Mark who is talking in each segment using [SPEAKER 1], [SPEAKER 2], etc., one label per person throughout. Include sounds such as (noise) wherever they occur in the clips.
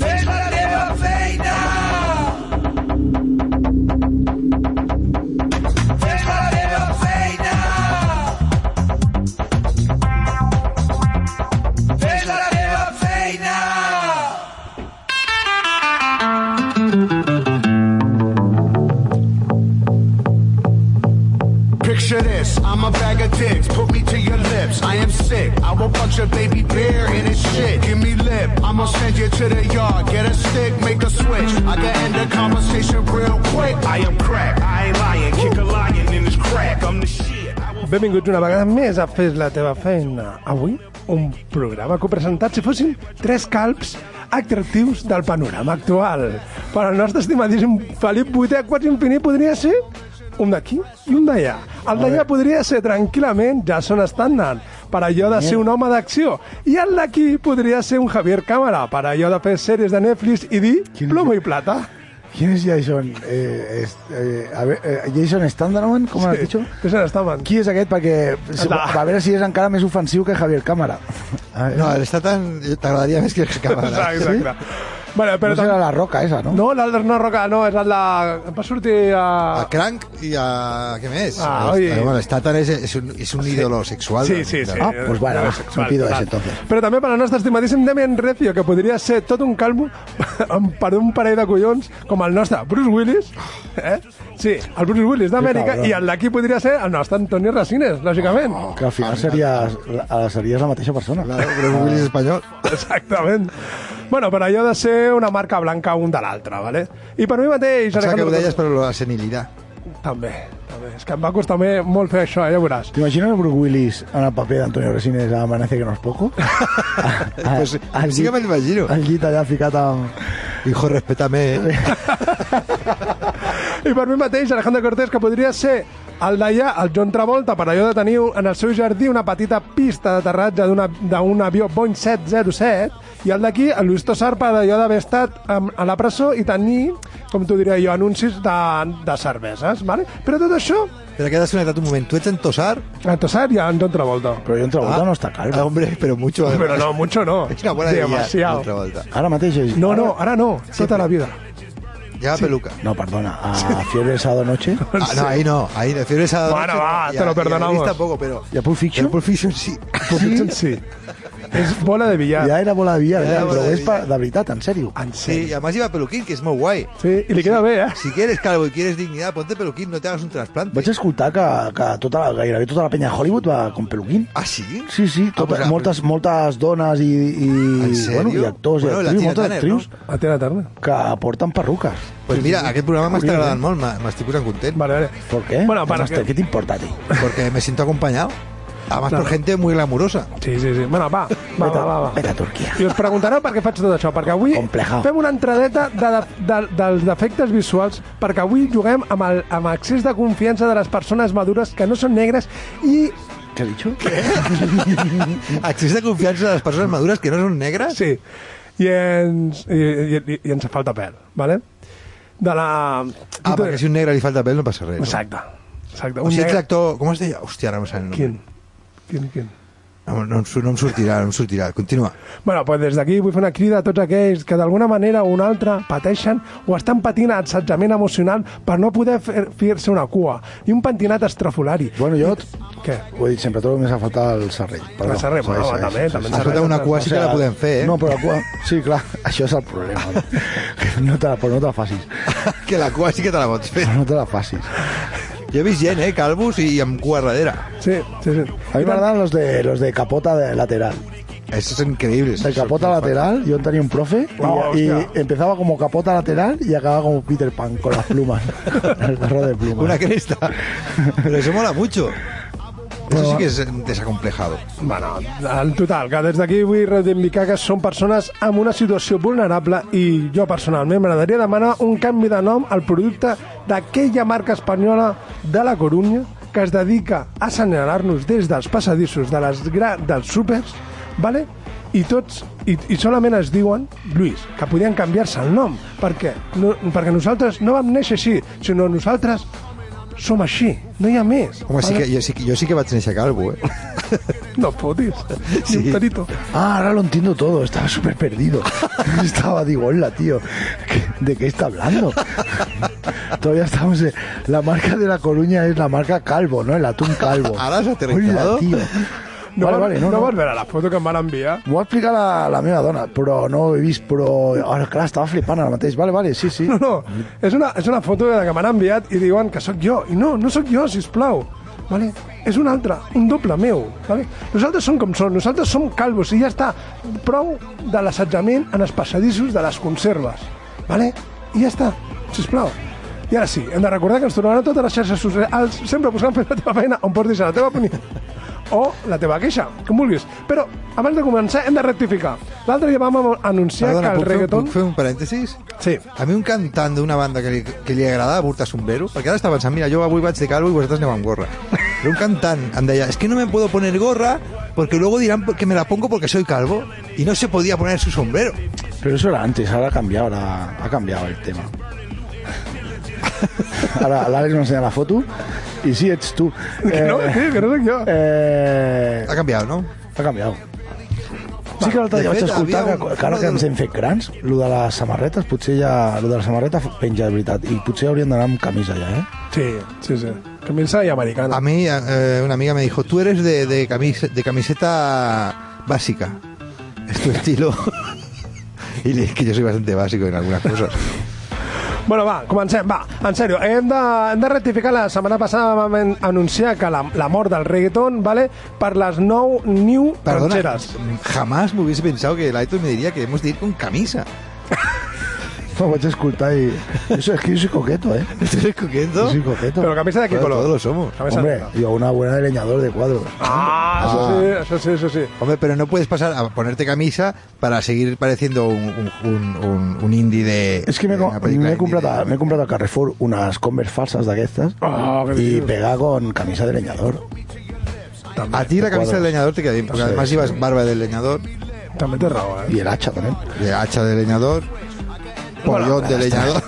[SPEAKER 1] Fes la teva feina! Fes la teva feina! Fes la teva feina!
[SPEAKER 2] Picture this, I'm a bag of dicks, put me to your lips. I am sick, I will punch a baby bear in his shit. Give me lip, I'ma send you to the yard, get a stick, make a switch. I can end the conversation real quick. I am crack, I ain't lying, kick a lion in his crack. I'm the shit. I will
[SPEAKER 3] Benvinguts una vegada més a Fes la teva feina. Avui, un programa copresentat si fossin tres calps atractius del panorama actual. Per al nostre estimadíssim Felip VIII, quasi infinit, podria ser un d'aquí i un d'allà. El d'allà podria ser tranquil·lament Jason Standard, per allò de ser un home d'acció. I el d'aquí podria ser un Javier Cámara, per allò de fer sèries de Netflix i dir plomo i plata.
[SPEAKER 4] ¿Quién es Jason? Eh, es- eh, a ver, eh, Jason Standardman, ¿cómo lo has dicho?
[SPEAKER 3] Jason Standard.
[SPEAKER 4] Qui és aquest? Perquè si,
[SPEAKER 3] Anda.
[SPEAKER 4] a veure si és encara més ofensiu que Javier Cámara.
[SPEAKER 5] Ah, eh. No, està tan... T'agradaria més que el Cámara.
[SPEAKER 3] Exacte, exacte. Vale,
[SPEAKER 4] Però
[SPEAKER 3] però
[SPEAKER 4] Ah, no serà la roca, esa, no?
[SPEAKER 3] No, l'Alder no Roca, no, és el de... Va sortir
[SPEAKER 5] A
[SPEAKER 3] a...
[SPEAKER 5] Crank i a... què més?
[SPEAKER 3] Ah,
[SPEAKER 5] Està-
[SPEAKER 3] oye.
[SPEAKER 5] Bueno, està tan... És, és un, és un ídolo sexual. eh,
[SPEAKER 3] Sí, sí, sí.
[SPEAKER 4] Ah, pues bueno, va,
[SPEAKER 3] Sexual,
[SPEAKER 4] me pido
[SPEAKER 3] total.
[SPEAKER 4] ese entonces.
[SPEAKER 3] Però també per al nostre estimadíssim Demian Recio, que podria ser tot un calmo (laughs) amb- per un parell de collons, com el nostre Bruce Willis, eh? Sí, el Bruce Willis d'Amèrica,
[SPEAKER 4] cabrón. Oh,
[SPEAKER 3] i el d'aquí podria ser el nostre Antonio Resines, lògicament.
[SPEAKER 4] Que al final series, la, series la mateixa persona.
[SPEAKER 5] Oh, Claro, però un Willis espanyol.
[SPEAKER 3] Exactament. Bueno, per allò de ser una marca blanca un de l'altre, ¿vale? I per mi mateix...
[SPEAKER 5] Pensava que ho
[SPEAKER 3] Alejandro,
[SPEAKER 5] deies, però la senilitat.
[SPEAKER 3] També, també. És que em va costar me- molt fer això, eh, ja veuràs.
[SPEAKER 4] T'imagines el Bruce Willis en el paper d'Antonio Resines a Amanece que no és
[SPEAKER 5] (laughs)
[SPEAKER 4] poco? Ah,
[SPEAKER 5] Pues, sí que me'l imagino.
[SPEAKER 4] Al llit allà ficat amb...
[SPEAKER 5] Hijo, respétame. eh?
[SPEAKER 3] I per mi mateix, Alejandro Cortés, que podria ser el d'allà, el John Travolta, per allò de tenir en el seu jardí una petita pista d'aterratge d'una- d'un avió Boeing 707, i el d'aquí, el Luis Tosar, per allò d'haver estat em, a la presó i tenir, com t'ho diria jo, anuncis de, de cerveses, vale? Però tot això,
[SPEAKER 5] Però que has desconnectat un moment. Tu ets en Tosar?
[SPEAKER 3] en Tosar i en John Travolta.
[SPEAKER 4] Però jo en Travolta
[SPEAKER 5] Ah.
[SPEAKER 4] no està
[SPEAKER 5] Ah,
[SPEAKER 4] calma.
[SPEAKER 5] hombre, però mucho.
[SPEAKER 3] Però no, mucho no.
[SPEAKER 5] És una bona idea,
[SPEAKER 3] Demasiado.
[SPEAKER 5] d'altra volta.
[SPEAKER 4] Ara mateix és...
[SPEAKER 3] No, no, ara no, tota la vida.
[SPEAKER 5] Ja, peluca.
[SPEAKER 4] No, perdona, a Fiebre el sábado noche...
[SPEAKER 5] Ah, no, ahí no, ahí no. Fiebre esa
[SPEAKER 3] Bueno, va, te lo perdonamos.
[SPEAKER 5] tampoco, pero...
[SPEAKER 4] ¿Y a Pulp Fiction?
[SPEAKER 5] Y a Pulp Fiction sí.
[SPEAKER 3] Sí? sí. És bola de billar.
[SPEAKER 4] Ja era bola de billar,
[SPEAKER 5] Ja era
[SPEAKER 4] ja,
[SPEAKER 5] bola
[SPEAKER 4] però
[SPEAKER 5] de
[SPEAKER 4] és
[SPEAKER 5] billar. Ah.
[SPEAKER 4] per, de veritat, en sèrio.
[SPEAKER 3] En
[SPEAKER 5] Sí, y
[SPEAKER 3] sèrio.
[SPEAKER 5] además iba peluquín, que es muy guay.
[SPEAKER 3] Sí, i li queda bé, eh?
[SPEAKER 5] Si quieres calvo y quieres dignidad, ponte peluquín, no te hagas un trasplante.
[SPEAKER 4] Vaig escoltar que, que tota la, gairebé tota la penya de Hollywood va com peluquín.
[SPEAKER 5] ¿Ah, sí?
[SPEAKER 4] Sí, sí,
[SPEAKER 5] Ah,
[SPEAKER 4] tot,
[SPEAKER 5] pues, ah,
[SPEAKER 4] moltes, moltes dones i, i,
[SPEAKER 5] En sèrio?
[SPEAKER 4] bueno, i actors
[SPEAKER 5] Bueno,
[SPEAKER 4] i
[SPEAKER 5] la
[SPEAKER 4] actrius,
[SPEAKER 5] Tina
[SPEAKER 4] moltes
[SPEAKER 5] Turner,
[SPEAKER 4] actrius
[SPEAKER 3] A té la tarda.
[SPEAKER 4] que porten perruques.
[SPEAKER 5] Pues mira, aquel programa más
[SPEAKER 4] Curiós,
[SPEAKER 5] agradado
[SPEAKER 4] eh?
[SPEAKER 5] molt, m'estic posant content,
[SPEAKER 3] Vale, vale.
[SPEAKER 4] ¿Por qué?
[SPEAKER 3] Bueno, para
[SPEAKER 4] Hasta,
[SPEAKER 3] que-
[SPEAKER 4] ¿Qué te importa a ti?
[SPEAKER 5] porque me siento acompañado. Además
[SPEAKER 3] Claro.
[SPEAKER 5] por gente muy glamurosa.
[SPEAKER 3] Sí, sí, sí. Bueno, va, va, va, va. va.
[SPEAKER 4] Vete a Turquia.
[SPEAKER 3] I us preguntareu per què faig tot això, perquè avui
[SPEAKER 4] Complejao.
[SPEAKER 3] fem una entradeta de, de, de, dels defectes visuals, perquè avui juguem amb, el, amb accés de confiança de les persones madures que no són negres i...
[SPEAKER 4] ¿Qué has dicho?
[SPEAKER 5] Accés de confiança de les persones madures que no són negres?
[SPEAKER 3] Sí, i ens, i, i, i, i ens falta pèl, ¿vale? De la...
[SPEAKER 5] Ah, perquè si un negre li falta pèl no passa res.
[SPEAKER 3] Exacte. Exacte.
[SPEAKER 5] O si ets
[SPEAKER 3] negre-
[SPEAKER 5] l'actor... Com es deia? Hòstia, ara no sé el nom.
[SPEAKER 3] Quin? Quin, quin?
[SPEAKER 5] No, no, em su- no em sortirà, no em sortirà. Continua.
[SPEAKER 3] Bueno, doncs des d'aquí vull fer una crida a tots aquells que d'alguna manera o una altra pateixen o estan patint assetjament emocional per no poder fer- fer-se una cua i un pentinat estrafolari.
[SPEAKER 4] Bueno, jo t-
[SPEAKER 3] Què?
[SPEAKER 4] ho he dit sempre, tot només ha faltat el serrell.
[SPEAKER 3] El serrell,
[SPEAKER 4] Segueix,
[SPEAKER 3] bueno,
[SPEAKER 4] segueix,
[SPEAKER 3] també,
[SPEAKER 4] segueix.
[SPEAKER 3] també el
[SPEAKER 4] Ah,
[SPEAKER 3] serrell.
[SPEAKER 5] Escolta, una cua sí que la podem fer, eh?
[SPEAKER 4] No, però la cua... Sí, (laughs) clar, això és el problema. No te la, però no te la facis.
[SPEAKER 5] (laughs) que la cua sí que te la pots fer.
[SPEAKER 4] Però no te la facis.
[SPEAKER 5] Jo he vist gent, eh, calvos i amb cua darrere.
[SPEAKER 3] Sí, sí, sí.
[SPEAKER 4] A mi m'agraden los de, los de capota de lateral.
[SPEAKER 5] Això és increïble.
[SPEAKER 4] De capota lateral, yo tenía un profe y-
[SPEAKER 3] No,
[SPEAKER 4] y,
[SPEAKER 3] hostia.
[SPEAKER 4] empezaba como capota lateral y acababa como Peter Pan con (laughs) las plumas. el gorro de plumas.
[SPEAKER 5] Una cresta. Però això mola mucho. Eso sí que es eh, desacomplejado.
[SPEAKER 3] Bueno, en total, que des d'aquí vull reivindicar que són persones amb una situació vulnerable i jo personalment m'agradaria demanar un canvi de nom al producte d'aquella marca espanyola de la Corunya que es dedica a assenyalar-nos des dels passadissos de les gra... dels súpers, vale? i tots i, i solament es diuen Lluís, que podien canviar-se el nom, perquè, no, perquè nosaltres no vam néixer així, sinó nosaltres som així, no hi ha més.
[SPEAKER 5] Home, sí
[SPEAKER 3] vale?
[SPEAKER 5] que, jo, sí, que- jo sí que vaig néixer calvo, eh?
[SPEAKER 3] No fotis, sí. ni
[SPEAKER 5] Sí.
[SPEAKER 3] un pelito.
[SPEAKER 4] Ah, ahora lo entiendo todo. Estaba súper perdido. (laughs) Estaba, digo, hola, tío. ¿qué- ¿De qué está hablando? (laughs) Todavía estamos. en- La marca de La Coruña es la marca Calvo, ¿no? El atún
[SPEAKER 3] (laughs)
[SPEAKER 4] Calvo.
[SPEAKER 5] Ahora has aterrizado.
[SPEAKER 4] (laughs) Hola, tío.
[SPEAKER 3] No,
[SPEAKER 4] vale,
[SPEAKER 3] va-
[SPEAKER 4] vale,
[SPEAKER 3] no,
[SPEAKER 4] no, no.
[SPEAKER 3] vas veure la foto que em van enviar?
[SPEAKER 4] M'ho va explicar la, la meva dona, però no ho he vist, però... Ara, clar, estava flipant ara mateix. Vale, vale, sí, sí.
[SPEAKER 3] (laughs) No, no, és una, és una foto de la que m'han enviat i diuen que sóc jo. I no, no sóc jo, si plau. Vale? És un altre, un doble meu. Vale? Nosaltres som com som, nosaltres som calvos i ja està. Prou de l'assetjament en els passadissos de les conserves. Vale? I ja està, si plau. I ara sí, hem de recordar que ens tornaran a totes les xarxes socials, sempre buscant fer la teva feina on portis a la teva opinió o la teva queixa, com vulguis. Però abans de començar hem de rectificar. L'altre dia vam anunciar
[SPEAKER 5] Perdona,
[SPEAKER 3] que el
[SPEAKER 5] puc, fer,
[SPEAKER 3] reggaeton...
[SPEAKER 5] puc fer un parèntesis?
[SPEAKER 3] Sí.
[SPEAKER 5] A mi un cantant d'una banda que li, que li agradava portar sombrero, perquè ara està pensant, mira, jo avui vaig de calvo i vosaltres aneu amb gorra. Però un cantant em deia, es que no me puedo poner gorra porque luego dirán que me la pongo porque soy calvo. Y no se podía poner su sombrero.
[SPEAKER 4] Pero eso era antes, ahora ha cambiado, la- ha cambiado el tema. Ahora l'Àlex m'ensenya la foto i sí, ets tu.
[SPEAKER 3] Que no, tio, que no sóc jo.
[SPEAKER 4] Eh,
[SPEAKER 5] Ha canviat, no?
[SPEAKER 4] ha canviat. Sí que l'altre
[SPEAKER 5] Ah, De
[SPEAKER 4] dia vaig
[SPEAKER 5] fet,
[SPEAKER 4] escoltar
[SPEAKER 5] havia
[SPEAKER 4] que,
[SPEAKER 5] un-
[SPEAKER 4] que ara que ens hem fet grans, lo de les samarretes, potser ja... Lo de la samarreta penja de veritat i potser hauríem d'anar amb camisa ja, eh?
[SPEAKER 3] Sí, sí, sí. Camisa y americana.
[SPEAKER 5] A mí eh, una amiga me dijo, tú eres de, de, camis- de camiseta básica. (laughs) Es tu estilo. (laughs) y le dije que yo soy bastante básico en algunas
[SPEAKER 4] (laughs)
[SPEAKER 5] cosas.
[SPEAKER 3] Bueno, va, comencem, va. En sèrio, hem de, hem de rectificar. La setmana passada vam en- anunciar que la, la mort del reggaeton, vale, per les 9 new
[SPEAKER 5] Perdona,
[SPEAKER 3] rancheras.
[SPEAKER 5] jamás me hubiese pensado que el Aitor me diría que hemos de ir con camisa. (laughs)
[SPEAKER 4] Ho vaig escoltar i... Eso es que jo soy coqueto, eh?
[SPEAKER 5] ¿Estás cogiendo?
[SPEAKER 4] Jo soy coqueto.
[SPEAKER 3] Però camisa de qué
[SPEAKER 5] Bueno,
[SPEAKER 3] color?
[SPEAKER 5] todos lo somos.
[SPEAKER 3] Camisa de-
[SPEAKER 4] Hombre, jo una buena de leñador de cuadros.
[SPEAKER 3] Ah, eso sí, eso sí, eso sí.
[SPEAKER 5] Hombre, pero no puedes pasar a ponerte camisa para seguir pareciendo un, un, un- un- un indie de...
[SPEAKER 4] És que m'he
[SPEAKER 5] de Eh, una
[SPEAKER 4] com-
[SPEAKER 5] película
[SPEAKER 4] m'he
[SPEAKER 5] indie
[SPEAKER 4] comprat, a-
[SPEAKER 5] de-
[SPEAKER 4] m'he comprat al Carrefour unes Converse falses d'aquestes
[SPEAKER 3] Ah, que
[SPEAKER 4] i
[SPEAKER 3] dius.
[SPEAKER 4] pegar con camisa de leñador.
[SPEAKER 5] A ti la camisa del leñador te queda bien, porque
[SPEAKER 4] este Sí,
[SPEAKER 5] además
[SPEAKER 4] sí.
[SPEAKER 5] llevas barba del leñador,
[SPEAKER 3] També té raó, eh?
[SPEAKER 4] Y el hacha también.
[SPEAKER 5] de hacha de leñador, pollón de
[SPEAKER 4] (laughs)
[SPEAKER 5] leñador...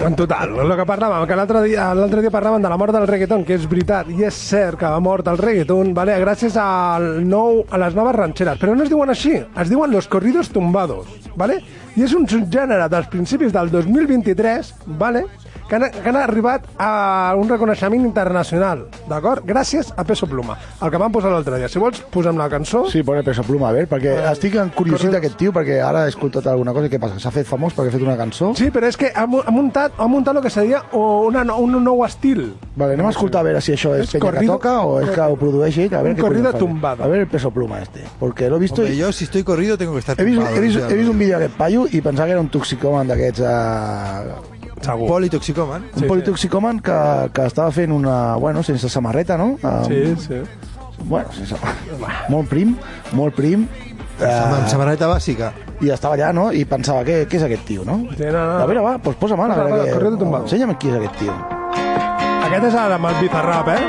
[SPEAKER 3] En total, el que parlàvem, que l'altre dia, l'altre dia parlàvem de la mort del reggaeton, que és veritat i és cert que ha mort el reggaeton, vale? gràcies al nou, a les noves ranxeres, però no es diuen així, es diuen los corridos tumbados, vale? i és un subgènere dels principis del 2023 vale? que, han, que han arribat a un reconeixement internacional, d'acord? Gràcies a Peso Pluma, el que van posar l'altre dia. Si vols, posem la cançó.
[SPEAKER 4] Sí, pone peso pluma, a ver, perquè
[SPEAKER 3] Eh,
[SPEAKER 4] estic en curiositat
[SPEAKER 3] correcte.
[SPEAKER 4] aquest tio, perquè ara he escoltat alguna cosa, i què passa? S'ha fet famós perquè ha fet una cançó?
[SPEAKER 3] Sí, però és que ha, mu- ha muntat, ha muntat el que seria una, no- un nou estil.
[SPEAKER 4] Vale, anem a escoltar a veure si això és,
[SPEAKER 3] És
[SPEAKER 4] penya
[SPEAKER 3] corrido-
[SPEAKER 4] que toca o és que ho produeix ell. A veure
[SPEAKER 3] Un
[SPEAKER 4] què collons
[SPEAKER 3] corrido
[SPEAKER 4] fa.
[SPEAKER 3] tumbado.
[SPEAKER 4] A ver el peso pluma este, porque lo he visto...
[SPEAKER 5] Hombre,
[SPEAKER 4] i-
[SPEAKER 5] yo si estoy corrido tengo que estar
[SPEAKER 4] He vist,
[SPEAKER 5] tumbado,
[SPEAKER 4] he, vist,
[SPEAKER 5] o sea,
[SPEAKER 4] he vist un vídeo d'aquest paio i pensava que era un toxicòman d'aquests... Eh,
[SPEAKER 3] Segur.
[SPEAKER 5] Politoxicoman.
[SPEAKER 4] un politoxicòman que, que estava fent una... Bueno, sense samarreta, no? Amb-
[SPEAKER 3] Sí, sí.
[SPEAKER 4] Bueno, sense... molt prim, molt prim.
[SPEAKER 5] Sama-
[SPEAKER 4] Eh,
[SPEAKER 5] Samarreta bàsica.
[SPEAKER 4] I estava allà, no? I pensava, què, què és aquest tio, no?
[SPEAKER 3] Sí, no, no, no.
[SPEAKER 4] A veure, va, doncs posa mà.
[SPEAKER 3] Posa, posa, corrido tumbado.
[SPEAKER 4] Ensenya'm qui és aquest tio.
[SPEAKER 3] Aquest és ara amb el bizarrap, eh?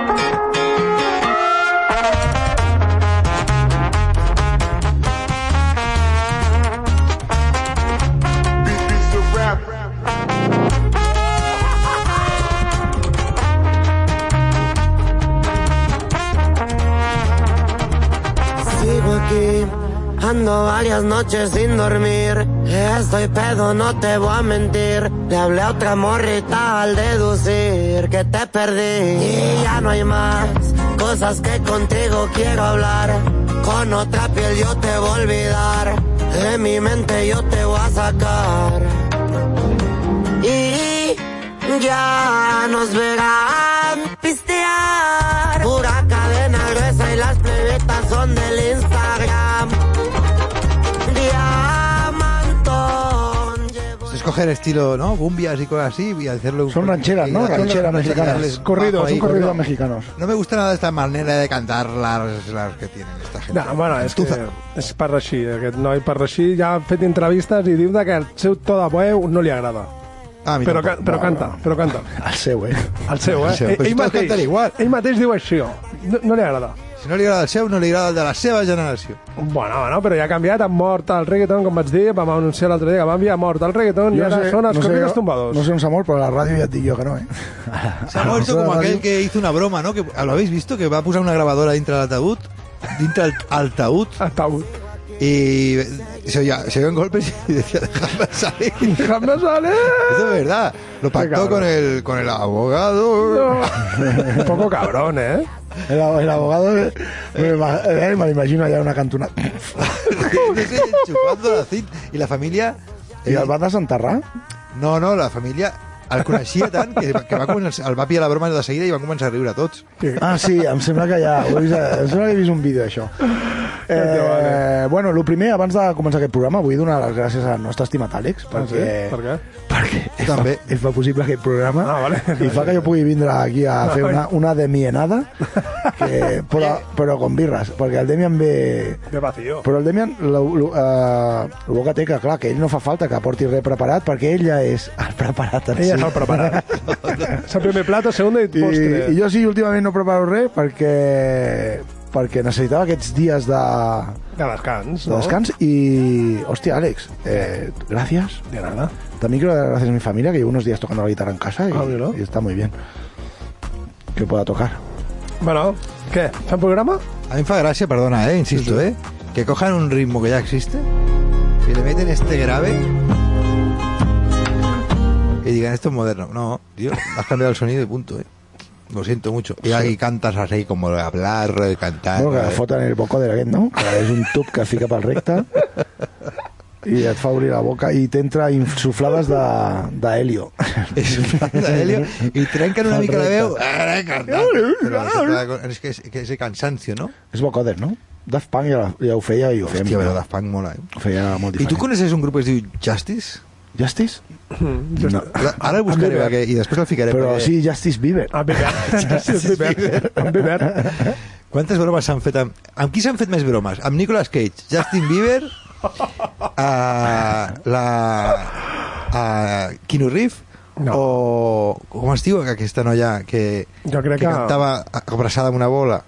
[SPEAKER 6] Sigo aquí, ando varias noches sin dormir. Estoy pedo, no te voy a mentir. Le hablé a otra morrita al deducir que te perdí. Y ya no hay más cosas que contigo quiero hablar. Con otra piel yo te voy a olvidar. De mi mente yo te voy a sacar. Y ya nos verán pistear. Pura cadena gruesa y las plebetas son del Instagram. Diamantón. llevo-
[SPEAKER 5] Estos Pues coger estilo, ¿no? Bumbias y cosas así y hacerlo... un-
[SPEAKER 4] Son rancheras,
[SPEAKER 5] y
[SPEAKER 4] ¿no?
[SPEAKER 5] hacerlo-
[SPEAKER 4] Rancheras mexicanas.
[SPEAKER 5] hacerles-
[SPEAKER 3] Corridos,
[SPEAKER 5] ahí,
[SPEAKER 3] un
[SPEAKER 4] Son
[SPEAKER 3] corrido.
[SPEAKER 4] corridos mexicanos. (laughs)
[SPEAKER 5] No me gusta nada esta manera de cantar las, las que tienen esta gente.
[SPEAKER 3] No, bueno, és, que
[SPEAKER 5] Estufa.
[SPEAKER 3] és per així, aquest noi per així ja ha fet entrevistes i diu de que el seu to de veu no li agrada.
[SPEAKER 5] Ah, a mi
[SPEAKER 3] Però, ca
[SPEAKER 5] tampoc.
[SPEAKER 3] però canta, però canta.
[SPEAKER 4] Al seu, eh?
[SPEAKER 3] El seu, eh?
[SPEAKER 5] El seu,
[SPEAKER 3] Ell-
[SPEAKER 5] però si
[SPEAKER 3] ell,
[SPEAKER 5] tots canten igual.
[SPEAKER 3] ell mateix diu això. No, no li agrada.
[SPEAKER 5] Si no li agrada el seu, no li agrada el de la seva generació.
[SPEAKER 4] Ah,
[SPEAKER 3] Bueno, bueno, però ja ha canviat, ha mort el reggaeton, com vaig dir, vam anunciar l'altre dia que vam enviar mort el reggaeton i ara són els corridos tumbados.
[SPEAKER 4] No sé on s'ha mort, però a la ràdio ja et dic jo que no, eh? (laughs)
[SPEAKER 5] Se ha muerto como aquel que hizo una broma, ¿no? Que, ¿Lo habéis visto? Que va a poner una grabadora dentro del ataúd. Dentro del ataúd.
[SPEAKER 3] Ataúd.
[SPEAKER 5] Y se oían se oían golpes y (laughs) decía, déjame salir.
[SPEAKER 3] Déjame salir.
[SPEAKER 5] Eso es verdad. Lo pactó
[SPEAKER 3] cabrón.
[SPEAKER 5] con el, con el abogado.
[SPEAKER 3] Un poco cabrón, eh?
[SPEAKER 4] El, ab- el abogado... eh, Me, va- eh, me lo imagino allà en una cantona.
[SPEAKER 5] (laughs) Riéndose, chupando la cinta. Y la familia.
[SPEAKER 4] (laughs) I el van desenterrar?
[SPEAKER 5] No, no, la familia. El coneixia tant que, que va començar, el va pillar la broma de seguida i van començar a riure tots.
[SPEAKER 4] Ah, sí, em sembla que ja... Ho he vist, em sembla que he vist un vídeo, això. Eh, bueno, el primer, abans de començar aquest programa, vull donar les gràcies al nostre estimat Àlex, perquè...
[SPEAKER 3] Ah, Sí, Per què?
[SPEAKER 4] Perquè és
[SPEAKER 5] També.
[SPEAKER 4] fa, és fa possible aquest programa
[SPEAKER 3] Ah, vale.
[SPEAKER 4] i fa que jo pugui vindre aquí a fer una, una demienada que, però, però con birres, perquè el Demian ve...
[SPEAKER 3] De vacío.
[SPEAKER 4] Però el Demian, lo, lo, eh, el bo que té, que clar, que ell no fa falta que porti res preparat, perquè ell ja és el preparat. en
[SPEAKER 3] Ella
[SPEAKER 4] si.
[SPEAKER 3] sí. no preparada.
[SPEAKER 4] (laughs)
[SPEAKER 3] es el primer plato, segundo y
[SPEAKER 4] I,
[SPEAKER 3] postre.
[SPEAKER 4] I jo sí, últimament no preparo res perquè, perquè necessitava aquests dies de,
[SPEAKER 3] De descans,
[SPEAKER 4] de
[SPEAKER 3] no?
[SPEAKER 4] descans i, hòstia, Àlex, eh, gràcies.
[SPEAKER 3] De nada.
[SPEAKER 4] También quiero dar gracias a mi familia que llevo unos días tocando la guitarra en casa y,
[SPEAKER 3] Ah, mira.
[SPEAKER 4] y está muy bien. Que pueda tocar.
[SPEAKER 3] Bueno, ¿qué? ¿Fan programa?
[SPEAKER 5] A mí me fa gràcia, perdona, eh, insisto, eh, que cojan un ritmo que ya existe y le meten este grave y digan, esto es moderno. No, tío, has cambiado el sonido y punto, eh. Lo siento mucho. Y ahí cantas así como de hablar, de
[SPEAKER 3] Ah,
[SPEAKER 5] cantar.
[SPEAKER 4] bueno, que la
[SPEAKER 5] eh.
[SPEAKER 4] foten el bocó de la gent, no? Que és un tub que fica pel recte i et fa obrir la boca i t'entra insuflades de, de helio. (laughs)
[SPEAKER 5] Es un plan de helio y trencan una mica la veu. eh, cantant. Pero Es que, es que ese cansancio, ¿no?
[SPEAKER 4] És bocoder, no? Daft Punk ja, la- ja ho feia i ho fèiem.
[SPEAKER 5] Hostia, pero Daft Punk mola, eh.
[SPEAKER 4] Ho feia molt
[SPEAKER 5] ¿Y
[SPEAKER 4] diferent.
[SPEAKER 5] tú conoces un grupo que es diu Justice?
[SPEAKER 4] Justice? No.
[SPEAKER 5] Ahora buscaré perquè- i després el ficaré.
[SPEAKER 4] Però
[SPEAKER 5] perquè-
[SPEAKER 4] sí, Justice Bieber.
[SPEAKER 5] Ah,
[SPEAKER 3] A beber.
[SPEAKER 4] (laughs)
[SPEAKER 3] Sí, beber. A beber.
[SPEAKER 5] Quantes bromes s'han fet amb... Amb qui s'han fet més bromes? Amb Nicolas Cage, Justin Bieber, a, la, a Keanu Reeves, no.
[SPEAKER 3] No.
[SPEAKER 5] o com es diu aquesta noia que,
[SPEAKER 3] Jo crec que-
[SPEAKER 5] cantava abraçada amb una bola?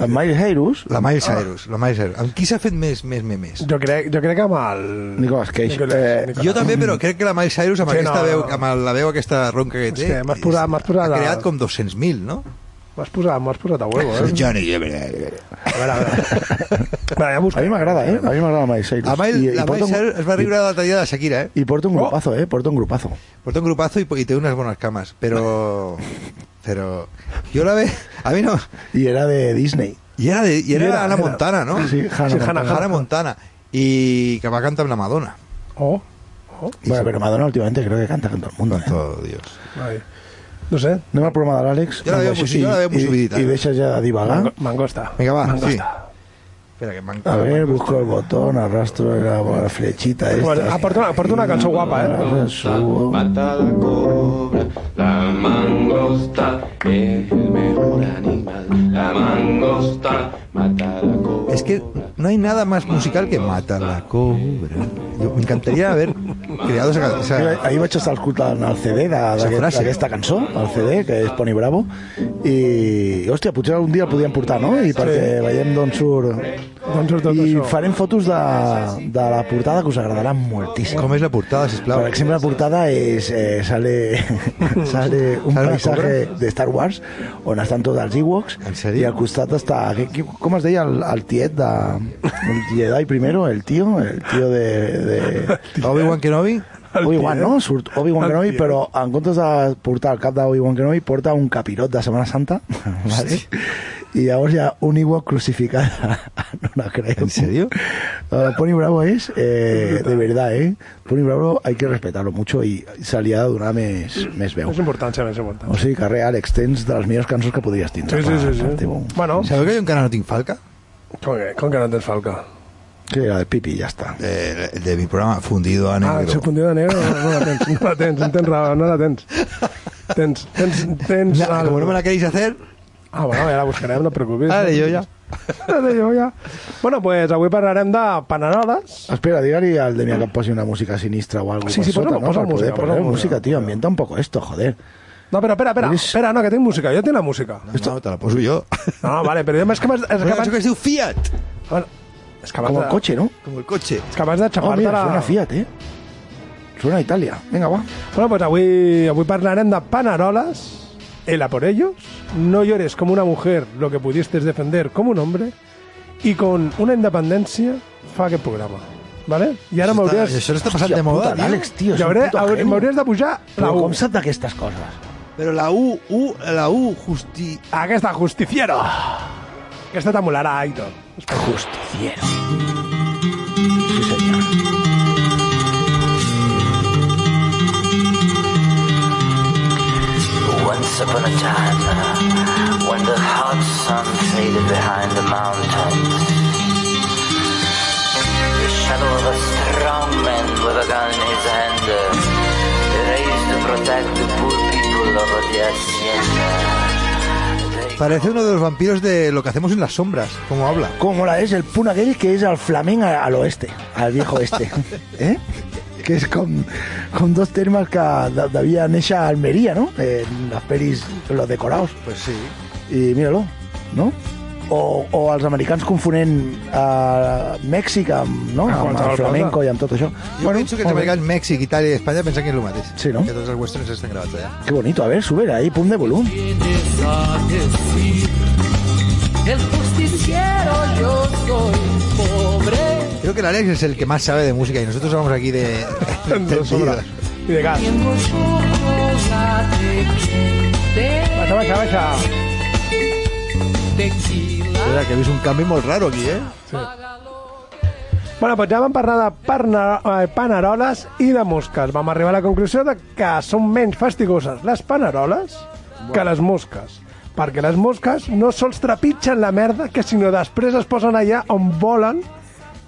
[SPEAKER 4] En Miles Cyrus,
[SPEAKER 5] La Miley
[SPEAKER 3] Ah.
[SPEAKER 5] Cyrus. La Miley Cyrus. Amb qui s'ha fet més, més memes?
[SPEAKER 3] Jo crec, jo crec que amb el...
[SPEAKER 4] Nicolas Cage.
[SPEAKER 3] Nicolas-
[SPEAKER 4] Eh,
[SPEAKER 3] Nicolas-
[SPEAKER 5] Jo també, però crec que la Miley Cyrus amb,
[SPEAKER 3] Sí,
[SPEAKER 5] sí, aquesta
[SPEAKER 3] no.
[SPEAKER 5] no. veu, amb la veu aquesta ronca que té
[SPEAKER 3] Hòstia, m'has posat- m'has posat
[SPEAKER 5] ha
[SPEAKER 3] a-
[SPEAKER 5] creat com 200.000, no?
[SPEAKER 3] M'has posat, m'has posat a huevo,
[SPEAKER 5] (laughs)
[SPEAKER 3] eh?
[SPEAKER 5] Johnny
[SPEAKER 3] A veure, a veure. Vale, ja
[SPEAKER 4] a
[SPEAKER 3] busco.
[SPEAKER 4] mi m'agrada, eh? A mi m'agrada Miles Cyrus.
[SPEAKER 5] La Miley, la
[SPEAKER 4] porta
[SPEAKER 5] Miley
[SPEAKER 4] un-
[SPEAKER 5] Cyrus es va riure l'altre dia de Shakira, eh?
[SPEAKER 4] I porta un
[SPEAKER 3] Oh.
[SPEAKER 4] grupazo, eh? Porta un grupazo.
[SPEAKER 5] Porta un grupazo y, y te unas buenas camas, pero... Pero... Yo la ve... A mí no...
[SPEAKER 4] I era de Disney.
[SPEAKER 5] Y era, de, y era,
[SPEAKER 3] Y era-
[SPEAKER 5] Ana
[SPEAKER 3] era-
[SPEAKER 5] Montana, ¿no?
[SPEAKER 4] Sí, Hannah
[SPEAKER 3] Sí,
[SPEAKER 4] Montana.
[SPEAKER 3] Hannah.
[SPEAKER 5] Ana Montana. Y que va a cantar la Madonna.
[SPEAKER 3] Oh, oh.
[SPEAKER 4] Bueno, pero Madonna últimamente creo que canta con todo el mundo. ¿eh?
[SPEAKER 5] Santo Dios.
[SPEAKER 3] Ai. No sé.
[SPEAKER 4] No me ha programa de l'Àlex.
[SPEAKER 5] Jo la veo
[SPEAKER 4] Amb
[SPEAKER 5] muy-
[SPEAKER 4] això sí,
[SPEAKER 5] jo la veo muy
[SPEAKER 4] i-
[SPEAKER 5] subidita. ¿eh?
[SPEAKER 4] I deixa ja de divagar.
[SPEAKER 3] Mango- Mangosta.
[SPEAKER 5] Venga, va, sí.
[SPEAKER 3] Mangosta.
[SPEAKER 5] Espera, que me han-
[SPEAKER 4] A ver, busco el botón, arrastro la, la flechita esta.
[SPEAKER 3] Bueno, aporta una, aporta una cançó guapa, eh?
[SPEAKER 4] Ahora subo.
[SPEAKER 7] Patada cobra, la mangosta es el mejor animal. La mangosta mata la cobra.
[SPEAKER 5] Es que no hay nada más musical que Mata la Cobra. Yo- me encantaría haber creado esa... ca-
[SPEAKER 4] Mira,
[SPEAKER 5] esa-
[SPEAKER 4] ahir vaig estar escoltant el CD de- d'aquest-
[SPEAKER 5] frase.
[SPEAKER 4] d'aquesta cançó, el CD, que és Pony Bravo, i, hòstia, potser algun dia el podíem portar, no? I perquè veiem d'on surt...
[SPEAKER 3] D'on Doncs surt tot
[SPEAKER 4] I
[SPEAKER 3] això?
[SPEAKER 4] farem fotos de, de la portada que us agradarà moltíssim.
[SPEAKER 5] ¿Cómo es la portada, si
[SPEAKER 4] Por ejemplo, la portada es, eh,
[SPEAKER 5] (laughs)
[SPEAKER 4] sale, sale un
[SPEAKER 5] ¿Sale la
[SPEAKER 4] paisaje de Star Wars on estan tots els Ewoks
[SPEAKER 5] En sèrio?
[SPEAKER 4] i al costat està... qui- qui- Com es deia el, el tiet de... El Jedi primero, el tío, el tío de... de
[SPEAKER 5] (laughs) Obi-Wan Kenobi.
[SPEAKER 4] Obi-Wan,
[SPEAKER 3] tiet.
[SPEAKER 4] no? Surt Obi-Wan
[SPEAKER 3] El
[SPEAKER 4] Kenobi, ah,
[SPEAKER 3] tiet.
[SPEAKER 4] però en comptes de portar el cap d'Obi-Wan Kenobi, porta un capirot de Setmana Santa, (laughs) vale? i llavors hi ha un Ewok (laughs) crucificat en una creu.
[SPEAKER 5] ¿En serio?
[SPEAKER 4] Uh, Pony Bravo es, eh, de verdad, ¿eh? Pony Bravo hay que respetarlo mucho y se li ha de donar més, més veu.
[SPEAKER 3] És importància, més important.
[SPEAKER 4] O sigui que real, extens de les millors cançons que podries tindre.
[SPEAKER 3] Sí, sí,
[SPEAKER 4] per-
[SPEAKER 3] sí.
[SPEAKER 4] per
[SPEAKER 3] sí.
[SPEAKER 4] teu-
[SPEAKER 3] Bueno,
[SPEAKER 5] ¿Sabes que hay un canal Falca?
[SPEAKER 3] com que, com que no tens falca?
[SPEAKER 4] Sí, la de Pipi, ya está.
[SPEAKER 5] Eh, el de mi programa, fundido a
[SPEAKER 3] Ah,
[SPEAKER 5] negro.
[SPEAKER 3] si fundió de negro, no, no la tens, no la tens, no tens raó, no la tens. Tens, tens, tens...
[SPEAKER 5] Na-
[SPEAKER 3] el-
[SPEAKER 5] como no me la queréis hacer,
[SPEAKER 3] Ah, bueno, ja la buscarem, no et preocupis.
[SPEAKER 5] vale, yo ya.
[SPEAKER 3] Ara jo ja. Bueno, pues avui parlarem de paneroles.
[SPEAKER 4] Espera, dígale al de mi que pose una música sinistra o algo.
[SPEAKER 3] Sí, sí, ponlo,
[SPEAKER 4] pasota,
[SPEAKER 3] ponlo
[SPEAKER 4] Para poder
[SPEAKER 3] música,
[SPEAKER 4] poner
[SPEAKER 3] ponlo
[SPEAKER 4] música,
[SPEAKER 3] música.
[SPEAKER 4] tío. Ambienta un poco esto, joder.
[SPEAKER 3] No, espera, espera, espera,
[SPEAKER 4] Luis.
[SPEAKER 3] espera, no, que tinc música, jo tinc la música.
[SPEAKER 5] Esto no, te la puedo yo.
[SPEAKER 3] No, vale, però és que abans... És que
[SPEAKER 5] Bueno, eso que
[SPEAKER 3] abans,
[SPEAKER 5] es de un Fiat,
[SPEAKER 3] bueno, és que abans,
[SPEAKER 4] Como el
[SPEAKER 3] de-
[SPEAKER 4] coche, ¿no?
[SPEAKER 5] como el coche.
[SPEAKER 3] És que abans de
[SPEAKER 4] Oh,
[SPEAKER 3] xapar-te
[SPEAKER 4] mira,
[SPEAKER 3] la...
[SPEAKER 4] suena Fiat, ¿eh? Suena a Italia. Venga, va.
[SPEAKER 3] Bueno, pues avui, avui parlarem de paneroles, el a por ellos, no llores como una mujer lo que pudiste defender como un hombre, i con una independència fa aquest programa. ¿Vale? I ara m'hauries...
[SPEAKER 5] Eso no está pasando
[SPEAKER 4] Hòstia
[SPEAKER 5] de moda,
[SPEAKER 4] puta,
[SPEAKER 5] tío.
[SPEAKER 4] Àlex, tio, és
[SPEAKER 3] Jo
[SPEAKER 4] un
[SPEAKER 3] hauré-
[SPEAKER 4] puto
[SPEAKER 3] hauré-
[SPEAKER 4] genio.
[SPEAKER 3] M'hauries de pujar la
[SPEAKER 4] Però
[SPEAKER 3] U.
[SPEAKER 4] com sap d'aquestes coses?
[SPEAKER 5] Pero la U, U, la U, justi...
[SPEAKER 3] Aquesta justiciero. Aquesta t'amolarà, Aitor.
[SPEAKER 4] Justiciero. Sí, señor.
[SPEAKER 8] Once upon a time, when the hot sun faded behind the mountains, the shadow of a strong man with a gun in his hand, uh, raised to protect the poor people of the hacienda. They
[SPEAKER 5] Parece uno de los vampiros de lo que hacemos en las sombras, como habla.
[SPEAKER 4] Como la es el Punagel, que es al flamenco al oeste, al
[SPEAKER 3] (laughs)
[SPEAKER 4] viejo este. ¿Eh? Que es con, con dos termas que da- da había en esa Almería, ¿no? En las pelis, los decorados.
[SPEAKER 5] Pues sí.
[SPEAKER 4] Y míralo, ¿no? O, o els americans confonen a Mèxic amb, no? amb
[SPEAKER 3] qualsevol
[SPEAKER 4] el flamenco
[SPEAKER 3] cosa.
[SPEAKER 4] i amb tot això.
[SPEAKER 5] Yo pienso que
[SPEAKER 4] molt
[SPEAKER 5] te
[SPEAKER 4] bé.
[SPEAKER 5] en México, Italia y España, pensan que es lo mates.
[SPEAKER 4] Sí, ¿no?
[SPEAKER 5] Que todos los westerns están grabados allá.
[SPEAKER 4] Qué bonito, a ver, sube ahí, pum de volumen.
[SPEAKER 5] Creo que el Alex es el que más sabe de música y nosotros vamos aquí (laughs) de...
[SPEAKER 3] Dos sobres. I de gas. Baixa, baixa, baixa.
[SPEAKER 5] Espera, que habéis un cambio muy raro aquí, ¿eh?
[SPEAKER 3] Bueno, doncs ja vam parlar de parna, eh, paneroles i de mosques. Vam arribar a la conclusió de que són menys fastigoses les paneroles que les mosques. Perquè les mosques no sols trepitgen la merda, que sinó després es posen allà on volen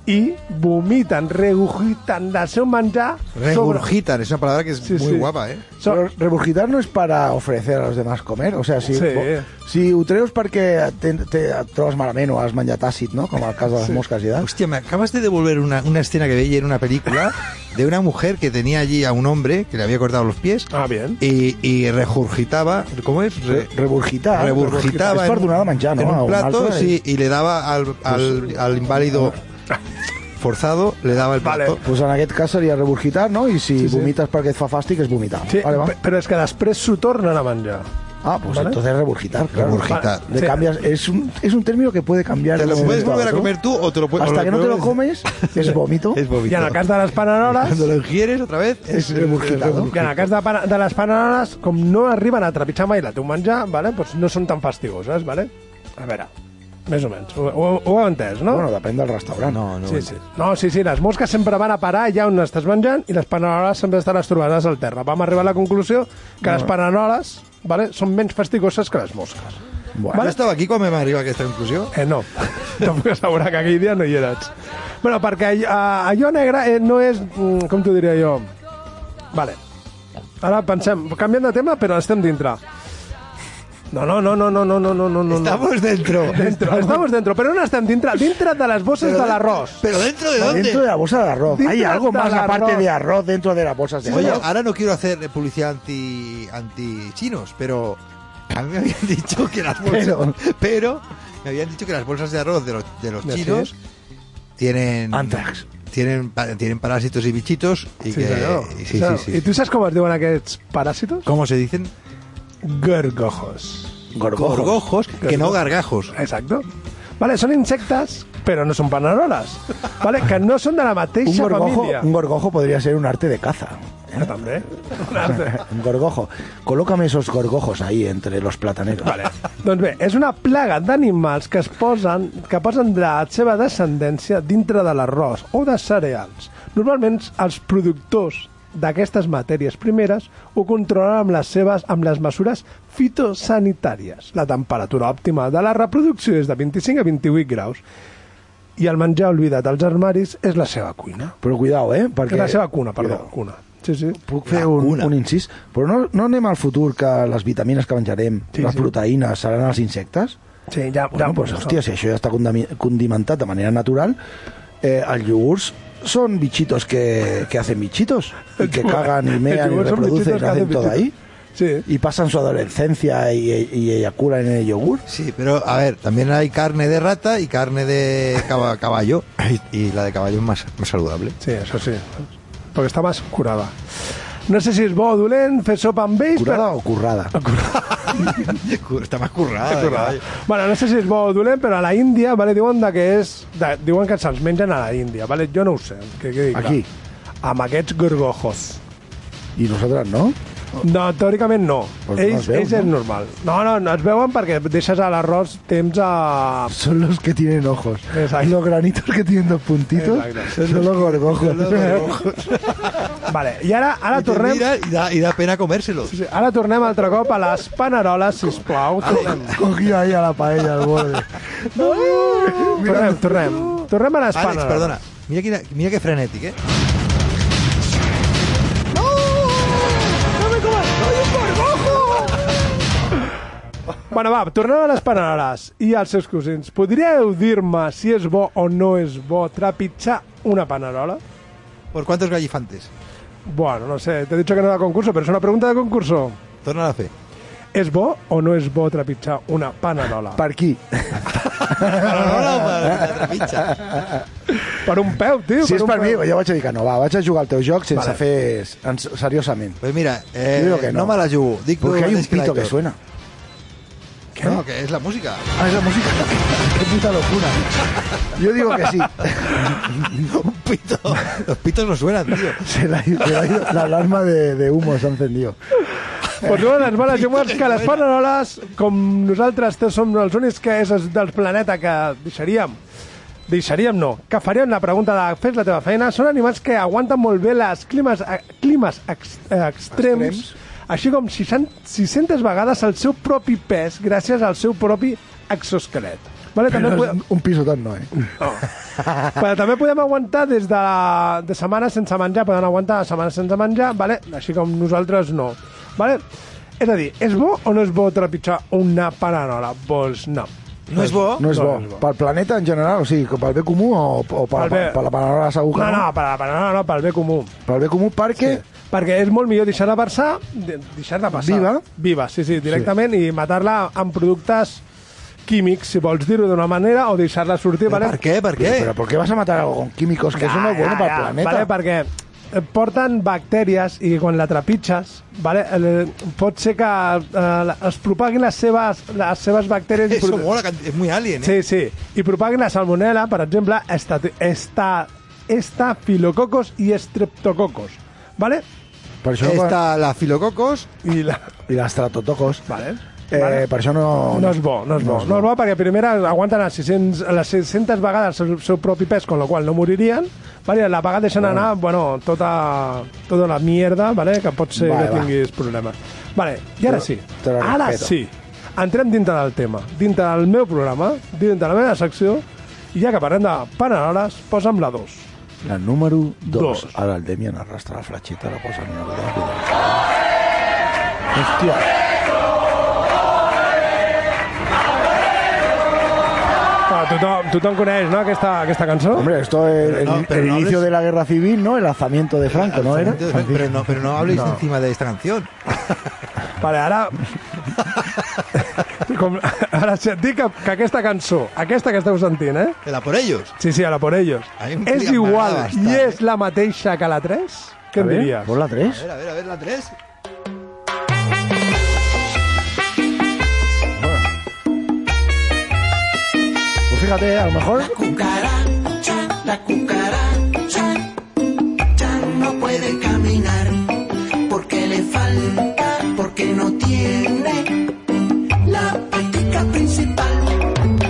[SPEAKER 3] i vomiten, regurgiten del seu menjar sobre...
[SPEAKER 5] Regurgitan, es una palabra que es
[SPEAKER 3] Sí,
[SPEAKER 5] muy
[SPEAKER 3] sí.
[SPEAKER 5] guapa, ¿eh?
[SPEAKER 3] so-
[SPEAKER 4] Però regurgitar no és per a ofrecer a los demás comer, o sea, si,
[SPEAKER 3] Sí.
[SPEAKER 4] si ho treus perquè te, te et trobes malament o has menjat àcid, no? Com el cas de les mosques i
[SPEAKER 5] Ah.
[SPEAKER 4] tal.
[SPEAKER 5] Hostia, me acabas de devolver una, una escena que veía en una (laughs) película de una mujer que tenía allí a un hombre que le había cortado los pies
[SPEAKER 3] Ah, bien.
[SPEAKER 5] y, y regurgitaba, ¿cómo es? Re- Ah,
[SPEAKER 4] Regurgitar.
[SPEAKER 5] regurgitaba
[SPEAKER 4] És per donar de menjar, no?
[SPEAKER 5] en
[SPEAKER 4] A
[SPEAKER 5] un
[SPEAKER 4] un
[SPEAKER 5] plato
[SPEAKER 4] altre,
[SPEAKER 5] sí, y Pues, eh, le daba al, al, al inválido forzado, le daba el
[SPEAKER 3] Vale.
[SPEAKER 5] plato.
[SPEAKER 4] Pues en aquest cas seria regurgitar, no? I si
[SPEAKER 3] sí.
[SPEAKER 4] vomites perquè et fa fàstic és vomitar.
[SPEAKER 3] Sí,
[SPEAKER 4] Vale, va.
[SPEAKER 3] pe- però és que després s'ho tornen a menjar.
[SPEAKER 4] Ah, pues
[SPEAKER 3] Vale.
[SPEAKER 4] entonces regurgitar, claro.
[SPEAKER 5] Regurgitar.
[SPEAKER 4] Le
[SPEAKER 3] Sí.
[SPEAKER 4] cambias, es un, es un término que puede cambiar.
[SPEAKER 5] Te
[SPEAKER 4] de
[SPEAKER 5] lo
[SPEAKER 4] un
[SPEAKER 5] puedes
[SPEAKER 4] momento
[SPEAKER 5] volver a
[SPEAKER 4] otro.
[SPEAKER 5] comer tú o te lo puedes... o
[SPEAKER 4] Hasta que no te lo
[SPEAKER 5] puedes- (laughs)
[SPEAKER 4] comes, es vómito.
[SPEAKER 5] Es
[SPEAKER 3] I
[SPEAKER 5] vómito.
[SPEAKER 3] en el cas de les paneroles...
[SPEAKER 5] Cuando lo ingieres otra vez es
[SPEAKER 4] regurgitado.
[SPEAKER 3] I en el cas de, pana- de les paneroles, com no arriben a trepitjar mai la teu menjar, vale? doncs no són tan fastigoses, vale? a veure, més o menys. Ho, ho, ho heu entès, no?
[SPEAKER 4] Bueno, depèn del restaurant.
[SPEAKER 5] No, no.
[SPEAKER 3] sí, sí. No, sí, sí, les mosques sempre van a parar allà on estàs menjant i les paneroles sempre estan estorbades al terra. Vam arribar a la conclusió que les paneroles vale, són menys fastigoses que les mosques.
[SPEAKER 5] Yo estaba aquí cuando me arriba que esta inclusión.
[SPEAKER 3] Eh, no. (laughs) Tampoc assegurar que aquell dia no hi eres. Bueno, perquè allò, eh, allò negre eh, no és... mm, Com t'ho diria jo? Vale. Ara pensem, canviem de tema, però estem dintre. No, no, no, no, no, no, no, no, no, no.
[SPEAKER 5] Estamos dentro.
[SPEAKER 3] Dentro, estamos dentro, però on estem dintre? Dintre de les bosses de l'arròs.
[SPEAKER 5] ¿Pero dentro de dónde?
[SPEAKER 4] Dentro de la bolsa de arroz.
[SPEAKER 3] Dentro
[SPEAKER 4] Hay algo
[SPEAKER 3] hasta
[SPEAKER 4] más
[SPEAKER 3] el
[SPEAKER 4] aparte
[SPEAKER 3] arroz.
[SPEAKER 4] de arroz dentro de las bolsas de
[SPEAKER 5] Oye,
[SPEAKER 4] arroz.
[SPEAKER 5] ahora no quiero hacer publicidad anti anti chinos, pero a mí me habían (laughs) dicho que las bolsas, pero,
[SPEAKER 4] Pero-
[SPEAKER 5] me habían dicho que las bolsas de arroz de los, de los
[SPEAKER 3] ¿De
[SPEAKER 5] chinos tienen
[SPEAKER 4] Antrax.
[SPEAKER 5] tienen pa- tienen parásitos y bichitos y que
[SPEAKER 3] senyor.
[SPEAKER 5] y sí,
[SPEAKER 3] Claro.
[SPEAKER 5] sí,
[SPEAKER 3] I
[SPEAKER 5] sí.
[SPEAKER 3] tu saps com es diuen aquests paràsitos?
[SPEAKER 5] ¿Cómo se dicen?
[SPEAKER 3] Gorgojos.
[SPEAKER 4] Gorgojos.
[SPEAKER 5] Gorgojos, que no gargajos.
[SPEAKER 3] Exacto. Vale, són insectes, però no són paneroles. Vale, que no són de la
[SPEAKER 4] Un
[SPEAKER 3] mateixa
[SPEAKER 4] gorgojo,
[SPEAKER 3] família.
[SPEAKER 4] un gorgojo podría ser un arte de caza. ¿eh?
[SPEAKER 3] Ah, també. Un altre.
[SPEAKER 4] Un gorgojo. Colócame esos gorgojos ahí entre los plataneros.
[SPEAKER 3] Vale. doncs bé, és una plaga d'animals que es posen, que posen la seva descendència dintre de l'arròs o de cereals. Normalment els productors d'aquestes matèries primeres ho controlen amb les seves amb les mesures fitosanitàries. La temperatura òptima de la reproducció és de 25 a 28 graus i el menjar oblidat als armaris és la seva cuina.
[SPEAKER 4] Però cuidao, eh? Perquè...
[SPEAKER 3] La seva cuna, perdó, cuna. Sí, sí.
[SPEAKER 4] Puc fer un, un incís? Però no, no anem al futur que les vitamines que menjarem,
[SPEAKER 3] Sí,
[SPEAKER 4] sí, les
[SPEAKER 3] sí.
[SPEAKER 4] sí. proteïnes, seran els insectes?
[SPEAKER 3] Sí, ja,
[SPEAKER 4] Bueno,
[SPEAKER 3] ja
[SPEAKER 4] ja, pues, hòstia, si això ja està condami- condimentat de manera natural, eh, els iogurts són bichitos que, que hacen bichitos y que cagan y mean y
[SPEAKER 3] Son
[SPEAKER 4] reproducen
[SPEAKER 3] bichitos
[SPEAKER 4] y
[SPEAKER 3] que
[SPEAKER 4] hacen
[SPEAKER 3] hacen
[SPEAKER 4] todo ahí
[SPEAKER 3] Sí.
[SPEAKER 4] y pasan su adolescencia y, y eyaculan en el yogur.
[SPEAKER 5] Sí, pero a ver, también hay carne de rata y carne de caba- caballo. Y la de caballo es más, más saludable.
[SPEAKER 3] Sí, eso sí. Porque está más curada. No sé si és bo o dolent fer sopa amb ells,
[SPEAKER 4] ¿Curada o currada?
[SPEAKER 5] Está más currada. de caballo.
[SPEAKER 3] Bueno, no sé si és bo o dolent, però a la Índia, vale, diuen de que és... De, diuen que se'ls mengen a la Índia, vale? Jo no ho sé, que quedi clar.
[SPEAKER 4] Aquí.
[SPEAKER 3] Amb aquests gorgojos.
[SPEAKER 4] Y nosotras no.
[SPEAKER 3] No, teòricament no.
[SPEAKER 4] Pues no
[SPEAKER 3] ells,
[SPEAKER 4] es veu,
[SPEAKER 3] ells és
[SPEAKER 4] no?
[SPEAKER 3] normal. No, no, no es veuen perquè deixes a l'arròs temps a...
[SPEAKER 4] Son los que tienen ojos.
[SPEAKER 3] Exacto.
[SPEAKER 4] Los granitos que tienen dos puntitos
[SPEAKER 3] Exacto.
[SPEAKER 4] son los gorgojos. (laughs)
[SPEAKER 3] Vale, i ara, ara
[SPEAKER 5] Y te
[SPEAKER 3] tornem...
[SPEAKER 5] mira y da, y da pena comérselos.
[SPEAKER 3] Sí, Ara tornem altre cop a les paneroles, sisplau.
[SPEAKER 4] Ah,
[SPEAKER 3] Tornem,
[SPEAKER 4] Cogido ahí a la paella al borde.
[SPEAKER 3] tornem, tornem. Tornem a les
[SPEAKER 5] Alex,
[SPEAKER 3] paneroles.
[SPEAKER 5] perdona. Mira que, mira que frenético, ¿eh?
[SPEAKER 3] Bueno, va, tornem a les paneroles i als seus cosins. Podríeu dir-me si és bo o no és bo trepitjar una panerola?
[SPEAKER 5] ¿Por cuántos gallifantes?
[SPEAKER 3] Bueno, no sé, t'he dit que no era concurso, però és una pregunta de concurso.
[SPEAKER 5] Torna la fe.
[SPEAKER 3] És bo o no és bo trepitjar una panerola? Per,
[SPEAKER 4] ¿Para aquí?
[SPEAKER 3] per un peu, tio.
[SPEAKER 4] Si és
[SPEAKER 3] un
[SPEAKER 4] per mi,
[SPEAKER 3] peu.
[SPEAKER 4] jo vaig dir que no, va, vaig a jugar al teu joc sense
[SPEAKER 3] Vale.
[SPEAKER 4] vale. fer en- seriosament.
[SPEAKER 5] Pues mira, eh,
[SPEAKER 4] Yo digo que
[SPEAKER 5] no.
[SPEAKER 4] no.
[SPEAKER 5] me la llevo. Dick
[SPEAKER 4] Porque
[SPEAKER 5] Dugan
[SPEAKER 4] hay un
[SPEAKER 5] es que la
[SPEAKER 4] pito que
[SPEAKER 5] hizo.
[SPEAKER 4] suena.
[SPEAKER 5] No, que es la música.
[SPEAKER 4] Ah, es la música. Qué puta locura. Yo digo que sí.
[SPEAKER 5] un pito. (laughs) Los pitos no suenan, tío.
[SPEAKER 4] Se la, ha ido- se la ha ido- la alarma de, de humo se ha encendido.
[SPEAKER 3] Pues no, les males llengues que les paneroles, com nosaltres te- som els únics que és es- del planeta que deixaríem, deixaríem no, que faríem la pregunta de fes la teva feina, són animals que aguanten molt bé les climes, eh, climes ex, eh, extrems,
[SPEAKER 5] Extrems.
[SPEAKER 3] així com 600, 600 vegades el seu propi pes gràcies al seu propi exoesquelet. Vale, també
[SPEAKER 4] Pero
[SPEAKER 3] podem,
[SPEAKER 4] es un pisotón no, ¿eh?
[SPEAKER 3] però també podem aguantar des de, de setmanes sense menjar, poden aguantar setmanes sense menjar, vale? així com nosaltres no. Vale? És a dir, és bo o no és bo trepitjar una paranola? Vols no.
[SPEAKER 5] No es bo.
[SPEAKER 4] No es
[SPEAKER 3] No,
[SPEAKER 4] bo.
[SPEAKER 3] no és bo.
[SPEAKER 4] ¿Para el planeta en general? O sigui, ¿Para el bé comú o, o para,
[SPEAKER 3] Pel bé-
[SPEAKER 4] la palabra
[SPEAKER 3] No,
[SPEAKER 4] saguca?
[SPEAKER 3] no, per la paranola no, pel bé comú.
[SPEAKER 4] Para el bé comú, perquè...
[SPEAKER 3] Perquè és molt millor deixar-la passar, de- deixar-la passar.
[SPEAKER 4] Viva?
[SPEAKER 3] Viva, sí, sí, directament, sí. i matar-la amb productes químics, si vols dir-ho d'una manera, o deixar-la sortir,
[SPEAKER 5] ¿Pero
[SPEAKER 3] vale?
[SPEAKER 5] ¿Por qué? ¿Por qué?
[SPEAKER 4] ¿Pero por qué vas a matar algo con químicos? Que eso
[SPEAKER 5] Ah,
[SPEAKER 4] no es bueno para el planeta.
[SPEAKER 3] Ah, Vale, perquè eh, porten bactèries i quan la trepitges, vale, eh, pot ser que eh, es propaguin les seves, les seves bactèries... i
[SPEAKER 5] Eso
[SPEAKER 3] produ-
[SPEAKER 5] mola, es muy alien, ¿eh?
[SPEAKER 3] Sí, sí. I propaguin la salmonella, per exemple, esta, esta, estafilococos i estreptococos. Vale?
[SPEAKER 4] Per això...
[SPEAKER 5] Está la filococos.
[SPEAKER 3] I la...
[SPEAKER 4] I les tratotocos.
[SPEAKER 3] Vale.
[SPEAKER 4] Eh,
[SPEAKER 3] Vale.
[SPEAKER 4] Per això no...
[SPEAKER 3] No és bo, no és bo. No és bo perquè primer aguanten les 600, les 600 vegades el seu propi pes, con lo qual no moririen. Vale, la vegada deixen anar, bueno, tota, tota la mierda, vale, que pot ser
[SPEAKER 4] Vale,
[SPEAKER 3] que
[SPEAKER 4] va.
[SPEAKER 3] tinguis problemes. Vale, i ara
[SPEAKER 4] Te-
[SPEAKER 3] sí.
[SPEAKER 4] te la
[SPEAKER 3] Ara
[SPEAKER 4] respeto.
[SPEAKER 3] sí. Entrem dintre del tema, dintre del meu programa, dintre de la meva secció, i ja que parlem de paneroles, posa'm la 2.
[SPEAKER 4] La número 2.
[SPEAKER 3] Dos.
[SPEAKER 4] Ahora el Demian arrastra la flachita, la cosa no le da cuidado. Hostia.
[SPEAKER 3] Ah, tothom, tothom coneix, no?, aquesta, aquesta cançó?
[SPEAKER 4] Hombre, esto es el,
[SPEAKER 5] no,
[SPEAKER 4] el
[SPEAKER 5] pero no
[SPEAKER 4] inicio
[SPEAKER 5] hables-
[SPEAKER 4] de la guerra civil, ¿no? El alzamiento de Franco, ¿no era? Ah,
[SPEAKER 5] Entonces, Pero no, pero no habléis encima de esta canción.
[SPEAKER 3] Vale,
[SPEAKER 4] (laughs)
[SPEAKER 3] ara... Com, ara, si et dic que, que aquesta cançó, aquesta que esteu sentint, eh?
[SPEAKER 5] Era por ellos.
[SPEAKER 3] Sí, sí, a la por ellos.
[SPEAKER 5] Hay un
[SPEAKER 3] És
[SPEAKER 5] clima
[SPEAKER 3] igual
[SPEAKER 5] brava,
[SPEAKER 3] i
[SPEAKER 5] està,
[SPEAKER 3] és
[SPEAKER 4] eh?
[SPEAKER 3] la mateixa que la 3? Què
[SPEAKER 4] A
[SPEAKER 3] en
[SPEAKER 4] ver,
[SPEAKER 3] diries?
[SPEAKER 4] ¿Por la 3?
[SPEAKER 5] A ver, a ver, a ver, la 3.
[SPEAKER 4] Pues fíjate, a lo mejor...
[SPEAKER 9] La cucaracha ya no puede caminar porque le falta, porque no tiene la patica principal.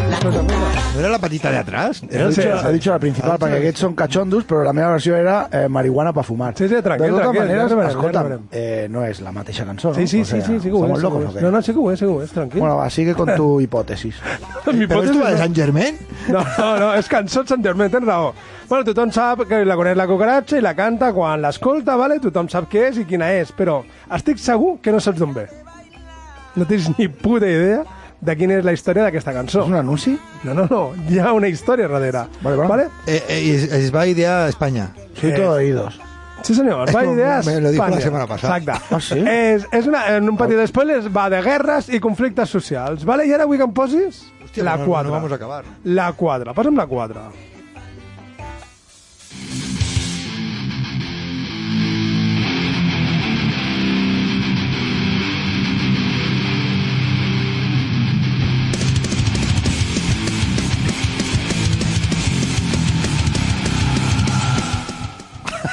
[SPEAKER 9] La cucaracha
[SPEAKER 5] ¿No era la patita de atrás.
[SPEAKER 4] Ha dicho, ha dicho la principal, para que Getson cachondus, pero la meva versió era eh, marihuana para fumar.
[SPEAKER 3] Sí, sí, tranquil,
[SPEAKER 4] De totes
[SPEAKER 3] tranquil,
[SPEAKER 4] maneres,
[SPEAKER 3] ja ho veurem, ja ho
[SPEAKER 4] escolta,
[SPEAKER 3] veurem.
[SPEAKER 4] eh, no és la mateixa cançó, no?
[SPEAKER 3] Sí, sí,
[SPEAKER 4] O
[SPEAKER 3] sí,
[SPEAKER 4] sea,
[SPEAKER 3] sí, sí, que ho
[SPEAKER 4] ¿Estamos
[SPEAKER 3] és, sí
[SPEAKER 4] locos
[SPEAKER 3] que ho és.
[SPEAKER 4] o qué?
[SPEAKER 3] No, no, sí que ho és, sí que ho és, tranquil.
[SPEAKER 4] Bueno, va, sigue con tu hipótesis.
[SPEAKER 3] (laughs) Mi
[SPEAKER 4] ¿Pero esto
[SPEAKER 3] hipòtesi
[SPEAKER 4] va de
[SPEAKER 3] no.
[SPEAKER 4] Saint Germain?
[SPEAKER 3] No, no, no, és cançó de Sant Germain, tens raó. Bueno, tothom sap que la coneix la cucaracha i la canta quan l'escolta, vale? tothom sap què és i quina és, però estic segur que no saps d'on ve. No tens ni puta idea de quina és la història d'aquesta cançó. És
[SPEAKER 4] un anunci?
[SPEAKER 3] No, no, no, hi ha una història darrere. Vale, vale. vale?
[SPEAKER 5] Eh, eh, y es, es va a idear España.
[SPEAKER 3] Soy todo
[SPEAKER 4] oídos.
[SPEAKER 3] Sí, senyor, es va
[SPEAKER 5] Esto
[SPEAKER 3] idear
[SPEAKER 5] me lo dijo la
[SPEAKER 3] Espanya.
[SPEAKER 5] semana pasada.
[SPEAKER 3] Exacte.
[SPEAKER 5] Ah, sí? Ah.
[SPEAKER 3] És, és una, en un petit spoiler, va de guerres i conflictes socials. Vale? I ara vull que em posis
[SPEAKER 5] Hòstia,
[SPEAKER 3] la
[SPEAKER 5] pues no, no
[SPEAKER 3] 4.
[SPEAKER 5] vamos a acabar.
[SPEAKER 3] La 4, posa'm la 4.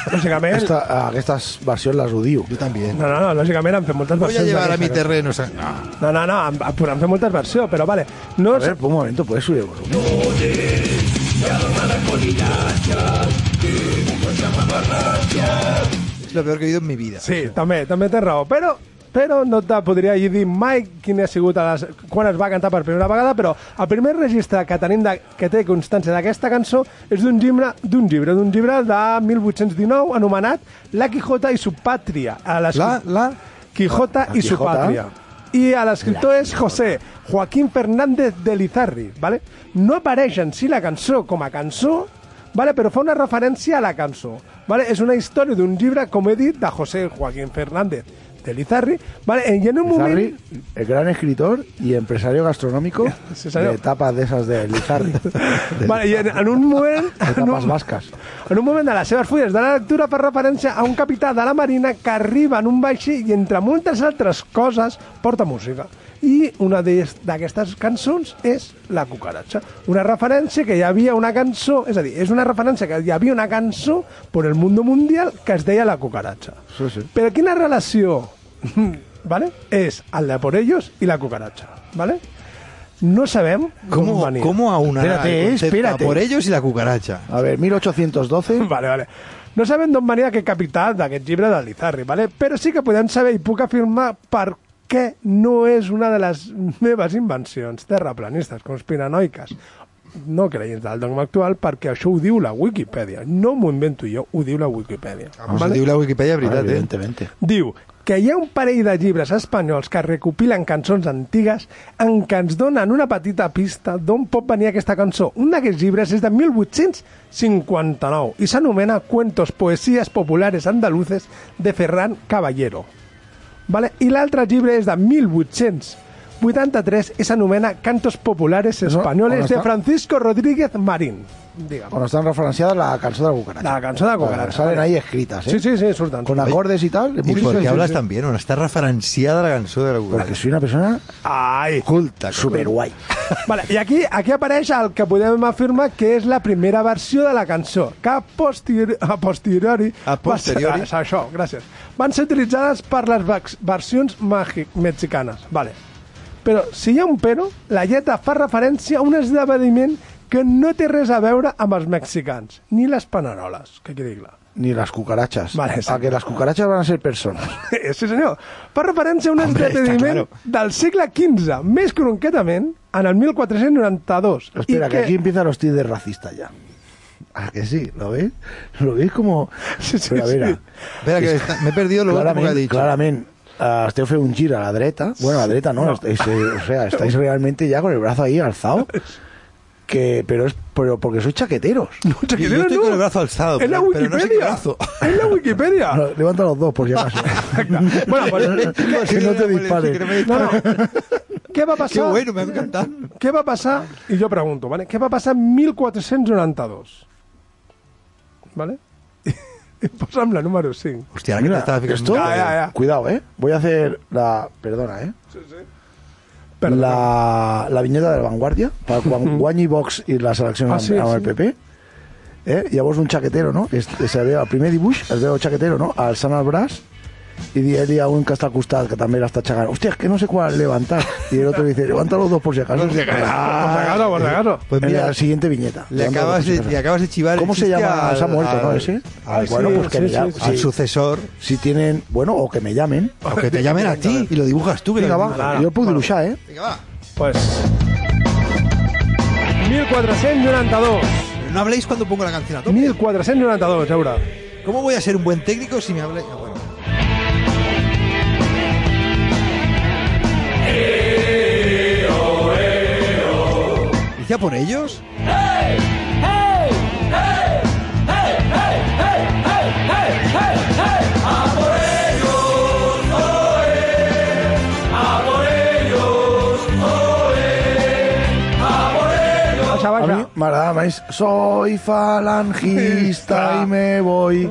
[SPEAKER 3] Lògicament...
[SPEAKER 4] Esta, aquestes versions les odio. Jo també.
[SPEAKER 3] No, no, no, lògicament han fet moltes
[SPEAKER 5] Voy a
[SPEAKER 3] versions.
[SPEAKER 5] llevar a mi
[SPEAKER 3] d'aquesta
[SPEAKER 5] terreno. o sea, no.
[SPEAKER 3] No, no, no, han, han fet moltes versions, però vale. No
[SPEAKER 4] A ver, un momento, ¿puedes subir el volumen?
[SPEAKER 5] Es lo peor que he oído en mi vida.
[SPEAKER 3] Sí, també, també tens raó, però però no te podria dir mai quin ha sigut a les, quan es va cantar per primera vegada, però el primer registre que tenim de, que té constància d'aquesta cançó és d'un llibre d'un llibre, d'un llibre de 1819 anomenat La Quijota i su pàtria. A les,
[SPEAKER 5] La- la-
[SPEAKER 3] Quijota
[SPEAKER 4] La
[SPEAKER 3] i su
[SPEAKER 4] Quijota.
[SPEAKER 3] pàtria. I a l'escriptor és José Joaquín Fernández de Lizarri, ¿vale? No apareix en si la cançó com a cançó, ¿vale? però fa una referència a la cançó. ¿vale? És una història d'un llibre, com he dit, de José Joaquín Fernández de Lizarri. ¿vale? I en un
[SPEAKER 4] Lizarri,
[SPEAKER 3] moment...
[SPEAKER 4] el gran escritor y
[SPEAKER 3] (laughs)
[SPEAKER 4] empresario gastronómico
[SPEAKER 3] Sí, senyor.
[SPEAKER 4] de tapas de esas
[SPEAKER 3] (laughs)
[SPEAKER 4] de Lizarri. De
[SPEAKER 3] Vale, i en, en un moment... En
[SPEAKER 4] tapas
[SPEAKER 3] un,
[SPEAKER 4] vascas.
[SPEAKER 3] en un moment de les seves fulles de la lectura fa referència a un capità de la Marina que arriba en un vaixell i entre moltes altres coses porta música. I una d'elles- d'aquestes cançons és La cucaracha. Una referència que hi havia una cançó, és a dir, és una referència que hi havia una cançó per el mundo mundial que es deia La cucaracha.
[SPEAKER 4] Sí, sí.
[SPEAKER 3] Però quina relació (laughs) ¿vale? és el de por ellos i La cucaracha, ¿vale? No sabem com
[SPEAKER 5] ¿Cómo,
[SPEAKER 3] venia.
[SPEAKER 5] ¿Cómo aunar
[SPEAKER 4] Espérate,
[SPEAKER 5] el concepto
[SPEAKER 4] espérate.
[SPEAKER 5] a por ellos y la cucaracha?
[SPEAKER 4] A ver, 1812.
[SPEAKER 3] Vale, vale. No sabem d'on venia aquest capital d'aquest llibre de Lizarri, vale? però sí que podem saber i puc afirmar per què no és una de les meves invencions terraplanistes, conspiranoiques, no creients del dogma actual, perquè això ho diu la Wikipedia. No m'ho invento jo, ho diu la Wikipedia.
[SPEAKER 5] Vamos a decir la Wikipedia,
[SPEAKER 4] Ah,
[SPEAKER 5] brítate.
[SPEAKER 4] evidentemente.
[SPEAKER 3] Diu que hi ha un parell de llibres espanyols que recopilen cançons antigues en què ens donen una petita pista d'on pot venir aquesta cançó. Un d'aquests llibres és de 1859 i s'anomena Cuentos, poesies populares andaluces de Ferran Caballero. Vale? I l'altre llibre és de 1883 i s'anomena Cantos populares
[SPEAKER 4] on
[SPEAKER 3] españoles
[SPEAKER 4] està?
[SPEAKER 3] de Francisco Rodríguez Marín. Digue'm.
[SPEAKER 4] Bueno, están referenciadas la canción de la cucaracha.
[SPEAKER 3] La cançó de la cucaracha,
[SPEAKER 4] Salen
[SPEAKER 3] vale.
[SPEAKER 4] ahí escritas, ¿eh?
[SPEAKER 3] Sí, sí, sí, surten.
[SPEAKER 4] Con acordes y tal.
[SPEAKER 5] ¿Y
[SPEAKER 4] muy
[SPEAKER 5] por
[SPEAKER 4] bien.
[SPEAKER 5] qué hablas tan bien? Bueno, está referenciada la canción de la
[SPEAKER 4] Porque
[SPEAKER 5] cucaracha.
[SPEAKER 4] soy una persona
[SPEAKER 3] Ai!
[SPEAKER 4] culta, super guay.
[SPEAKER 3] Vale, I aquí, aquí apareix el que podem afirmar que és la primera versió de la cançó, que a, posteriori... A posteriori,
[SPEAKER 5] A posteriori.
[SPEAKER 3] Va ser, Ah, això, gràcies. Van ser utilitzades per les vax- versions màgic mexicanes. Vale. Però, si hi ha un però, la lletra fa referència a un esdeveniment que no té res a veure amb els mexicans, ni les paneroles, que quedi clar. (laughs)
[SPEAKER 4] Ni las cucarachas.
[SPEAKER 3] Vale,
[SPEAKER 4] a
[SPEAKER 3] exacto.
[SPEAKER 4] que las cucarachas van a ser personas.
[SPEAKER 3] Eh, Sí, senyor. Fa referència a un
[SPEAKER 5] Hombre, està
[SPEAKER 3] esdeveniment
[SPEAKER 5] claro.
[SPEAKER 3] del segle XV, més concretament en el 1492. i
[SPEAKER 4] Espera, que... aquí empiezan los tíos de racista ya. Ah, que sí, ¿lo veis? ¿Lo veis como...?
[SPEAKER 3] (laughs) Sí, sí,
[SPEAKER 4] Pero, a
[SPEAKER 3] sí.
[SPEAKER 4] ver, a-
[SPEAKER 5] Espera, que está- me he perdido lo último que ha
[SPEAKER 4] claramente,
[SPEAKER 5] dicho.
[SPEAKER 4] claramente ah, esteu fent un gir a la dreta. Bueno, a la dreta no, estáis, eh, o sea, estáis realmente ya con el brazo ahí alzado. Que, pero es pero porque sois chaqueteros.
[SPEAKER 3] No, chaquetero
[SPEAKER 5] Yo estoy
[SPEAKER 3] no.
[SPEAKER 5] con el brazo alzado,
[SPEAKER 3] En la
[SPEAKER 5] pero- pero
[SPEAKER 3] Wikipedia.
[SPEAKER 5] no sé qué
[SPEAKER 3] (laughs)
[SPEAKER 5] brazo.
[SPEAKER 3] En la
[SPEAKER 5] (laughs)
[SPEAKER 3] Wikipedia.
[SPEAKER 4] Ah, No, levanta los dos, por
[SPEAKER 3] (laughs)
[SPEAKER 4] si acaso. (laughs)
[SPEAKER 3] Exacte. Bueno, pues,
[SPEAKER 4] que no te disparen.
[SPEAKER 3] no, no. Què va
[SPEAKER 5] Qué
[SPEAKER 3] passar?
[SPEAKER 5] bueno, me ha encantado.
[SPEAKER 3] Què va passar? I jo pregunto, vale? Què va passar en 1492? Vale? (laughs) I posa'm la número 5.
[SPEAKER 5] Hostia, ahora que te
[SPEAKER 4] Mira,
[SPEAKER 5] estaba fijando.
[SPEAKER 4] esto,
[SPEAKER 3] Ya, ya, ya.
[SPEAKER 4] cuidado, ¿eh? Voy a hacer la, perdona, ¿eh?
[SPEAKER 3] Perdona.
[SPEAKER 4] La, la vinyeta de la Vanguardia,
[SPEAKER 3] (laughs)
[SPEAKER 4] para quan guanyi Vox i la selecció
[SPEAKER 3] Ah,
[SPEAKER 4] amb,
[SPEAKER 3] sí,
[SPEAKER 4] amb el
[SPEAKER 3] sí.
[SPEAKER 4] PP. Eh? Llavors un xaquetero, no? Es, es veu, el primer dibuix es veu el xaquetero, no? Alçant el braç i di li a un que està al costat, que també l'està aixecant, hòstia, és que no sé quan levantar. I el otro dice, levanta los dos por si acaso.
[SPEAKER 3] (laughs) Por si acaso, por si acaso, por si acaso.
[SPEAKER 4] Pues
[SPEAKER 3] Pues
[SPEAKER 4] mira,
[SPEAKER 3] mira,
[SPEAKER 4] la siguiente viñeta.
[SPEAKER 5] Le acabas, de, le acabas de chivar el
[SPEAKER 4] ¿Cómo se
[SPEAKER 5] chiste
[SPEAKER 4] llama?
[SPEAKER 5] al-
[SPEAKER 4] Se ha muerto, ¿no?
[SPEAKER 5] al-
[SPEAKER 4] Ese.
[SPEAKER 3] Ah,
[SPEAKER 5] al-
[SPEAKER 4] bueno, pues que
[SPEAKER 5] sí,
[SPEAKER 4] me
[SPEAKER 5] sí,
[SPEAKER 4] llamen.
[SPEAKER 5] sí, al
[SPEAKER 4] (laughs)
[SPEAKER 5] sucesor.
[SPEAKER 4] Si tienen, bueno, o que me llamen.
[SPEAKER 5] O que te llamen a ti y lo dibujas tú. Que
[SPEAKER 4] Vinga,
[SPEAKER 5] lo
[SPEAKER 4] va,
[SPEAKER 5] dibujas.
[SPEAKER 4] jo puc dibuixar, eh?
[SPEAKER 5] Vinga, va.
[SPEAKER 3] Pues... 1492.
[SPEAKER 5] No habléis cuando pongo la canción a tope.
[SPEAKER 3] 1492, Laura.
[SPEAKER 5] ¿Cómo voy a ser un buen técnico si me habláis? Ah, bueno. Eh, oh, ¿Hice a por ellos?
[SPEAKER 3] Baixa,
[SPEAKER 4] A mi
[SPEAKER 3] baixa.
[SPEAKER 4] m'agradava més Soy
[SPEAKER 3] (laughs)
[SPEAKER 4] falangista i me voy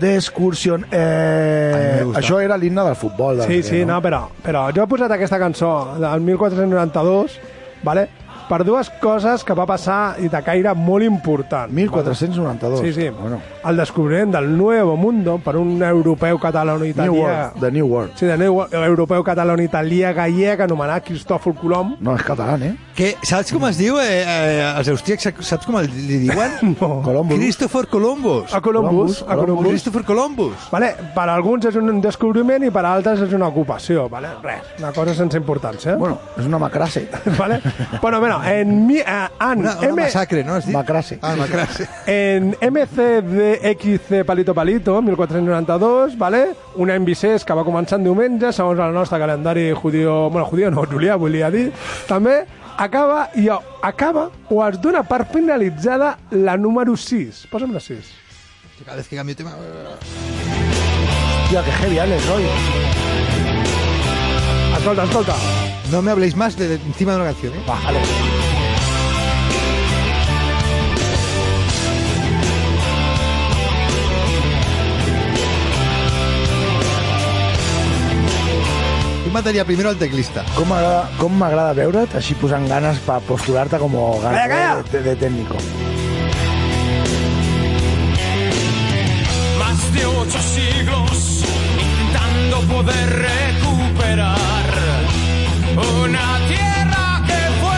[SPEAKER 4] d'excursió. Eh,
[SPEAKER 5] gusta.
[SPEAKER 4] això era l'himne del futbol. del
[SPEAKER 3] Sí,
[SPEAKER 4] Real,
[SPEAKER 3] sí, no, però, però jo he posat aquesta cançó del 1492, vale? per dues coses que va passar i de caire molt important.
[SPEAKER 4] 1492.
[SPEAKER 3] Sí, sí.
[SPEAKER 4] Bueno,
[SPEAKER 3] El descobriment del Nuevo Mundo per un europeu
[SPEAKER 4] New
[SPEAKER 3] catalano-italià...
[SPEAKER 4] World, The New World.
[SPEAKER 3] Sí, de New World, europeu catalano-italià gallec anomenat Cristòfol Colom.
[SPEAKER 4] No, és català, eh?
[SPEAKER 5] Que, saps com es diu eh, eh, els austríacs? Saps com el- li diuen?
[SPEAKER 3] No.
[SPEAKER 4] Columbus.
[SPEAKER 5] Christopher Columbus.
[SPEAKER 3] A Columbus, a Ah, Columbus.
[SPEAKER 5] Christopher Columbus.
[SPEAKER 3] Vale, per alguns és un descobriment i per altres és una ocupació, vale? Res, una cosa sense importància.
[SPEAKER 4] Bueno, és una (laughs) macrase.
[SPEAKER 3] (laughs) Vale? Bueno, bueno, en, mi, eh, en,
[SPEAKER 5] Una, una
[SPEAKER 3] M-
[SPEAKER 5] masacre, no? Has dit?
[SPEAKER 4] Macrase.
[SPEAKER 5] Ah, macrase.
[SPEAKER 3] En MCDXC Palito Palito, 1492, vale? un any vicés que va començar en diumenge, segons el nostre calendari judio... Bueno, judio no, julià, volia dir. També acaba i acaba o es dona per finalitzada la número 6. Posa'm la 6.
[SPEAKER 5] Cada vez que cambio tema...
[SPEAKER 4] Hòstia, que heavy, eh, Alex, oi?
[SPEAKER 3] Escolta, escolta.
[SPEAKER 5] No me habléis más de, de encima de una canción, ¿eh?
[SPEAKER 4] Va, Alex.
[SPEAKER 5] Yo mataría primero al teclista.
[SPEAKER 4] Com m'agrada- Com m'agrada veure't així posant ganes per postular-te com a
[SPEAKER 3] calla!
[SPEAKER 4] ganador de, de, de tècnico.
[SPEAKER 10] Más de ocho siglos intentando poder recuperar una tierra que fue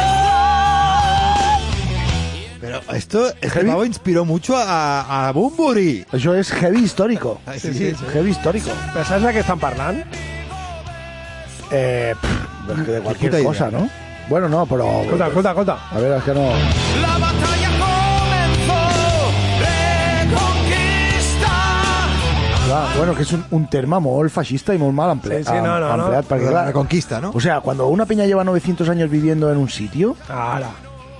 [SPEAKER 10] nuestra.
[SPEAKER 5] Pero esto, este pavo inspiró mucho a, a Bumburi.
[SPEAKER 4] Això és heavy histórico.
[SPEAKER 5] Ay, Ah, sí, sí, sí.
[SPEAKER 4] Heavy histórico.
[SPEAKER 3] Però saps de què estan parlant?
[SPEAKER 4] Eh, pff, és que de
[SPEAKER 5] puta
[SPEAKER 4] qualsevol
[SPEAKER 5] idea.
[SPEAKER 4] cosa, no? Bueno, no, però...
[SPEAKER 3] Escolta, escolta, escolta.
[SPEAKER 4] A veure, és que no...
[SPEAKER 10] La batalla comenzó, reconquista.
[SPEAKER 4] Clar, bueno, que és un, un terme molt feixista i molt mal emple
[SPEAKER 3] Sí, sí, no, no,
[SPEAKER 4] em-
[SPEAKER 3] no.
[SPEAKER 4] empleat, perquè,
[SPEAKER 5] La
[SPEAKER 4] clar,
[SPEAKER 5] reconquista, ¿no?
[SPEAKER 4] o sea, cuando una peña lleva 900 años viviendo en un sitio,
[SPEAKER 3] Ara.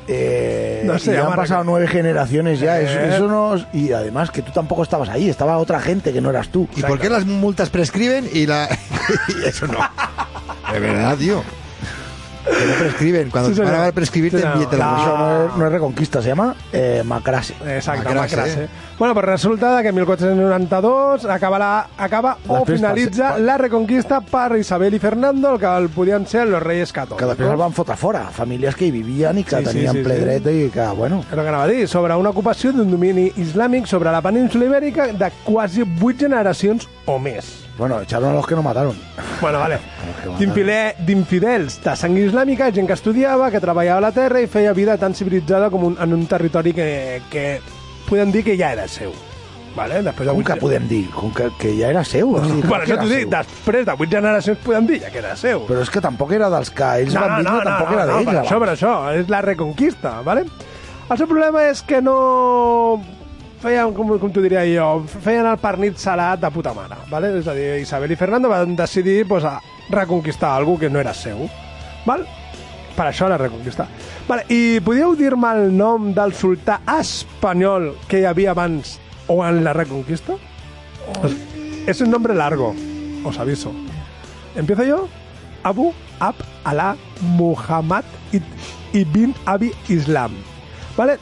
[SPEAKER 4] eh,
[SPEAKER 3] No sé,
[SPEAKER 4] y ya han
[SPEAKER 3] llama-
[SPEAKER 4] pasado nueve generaciones ya, eso,
[SPEAKER 3] Eh.
[SPEAKER 4] eso no... es- Y además que tú tampoco estabas ahí, estaba otra gente que no eras tú.
[SPEAKER 5] ¿Y por qué las multas prescriben y la... (laughs) y eso no? De verdad, tío. Que no prescriben. Cuando
[SPEAKER 3] Sí,
[SPEAKER 5] te van a
[SPEAKER 3] señor.
[SPEAKER 5] prescribir, te Ah,
[SPEAKER 3] Sí, señor.
[SPEAKER 5] envían- te lo-
[SPEAKER 3] La-
[SPEAKER 4] Eso no es, no es reconquista, se llama eh, macrase.
[SPEAKER 3] Exacte,
[SPEAKER 5] Macrase.
[SPEAKER 3] Macrase.
[SPEAKER 4] eh?
[SPEAKER 3] Bueno, pues resulta que en 1492 acaba, la, acaba o
[SPEAKER 4] Després
[SPEAKER 3] finalitza
[SPEAKER 4] passa-
[SPEAKER 3] la reconquista per Isabel i Fernando, el que el podien ser los reyes
[SPEAKER 4] que després el
[SPEAKER 3] catòlics.
[SPEAKER 4] van fotre fora, famílies que hi vivien i que
[SPEAKER 3] Sí, sí,
[SPEAKER 4] tenien
[SPEAKER 3] sí,
[SPEAKER 4] ple
[SPEAKER 3] sí.
[SPEAKER 4] dret i que, bueno...
[SPEAKER 3] El que anava a dir, sobre una ocupació d'un domini islàmic sobre la península ibèrica de quasi 8 generacions o més.
[SPEAKER 4] Bueno, echaron a los que no mataron.
[SPEAKER 3] Bueno, vale.
[SPEAKER 4] que matar.
[SPEAKER 3] D'infile- D'infidels de sang islàmica, gent que estudiava, que treballava a la terra i feia vida tan civilitzada com un, en un territori que, que podem dir que ja era seu. Vale? Després de
[SPEAKER 4] Com
[SPEAKER 3] vuit
[SPEAKER 4] que
[SPEAKER 3] ge-
[SPEAKER 4] podem dir? Com que, que ja era seu? O sigui, com
[SPEAKER 3] Bueno,
[SPEAKER 4] que
[SPEAKER 3] això
[SPEAKER 4] era
[SPEAKER 3] t'ho dic,
[SPEAKER 4] seu?
[SPEAKER 3] després de vuit generacions podem dir ja que era seu.
[SPEAKER 4] Però és que tampoc era dels que ells van dir, no, tampoc era
[SPEAKER 3] per
[SPEAKER 4] d'ells.
[SPEAKER 3] això, per
[SPEAKER 4] abans.
[SPEAKER 3] això, és la reconquista, ¿vale? El seu problema és que no feien, com, com t'ho diria jo, feien el pernit salat de puta mare, ¿vale? És a dir, Isabel i Fernando van decidir pues, a reconquistar algú que no era seu, ¿vale? Per això la reconquista. Vale, I podíeu dir-me el nom del sultà espanyol que hi havia abans o en la reconquista? Es un nombre largo, os aviso. Empiezo yo. Abu Ab Alá Muhammad Ib- Ibn Abi Islam. ¿Vale?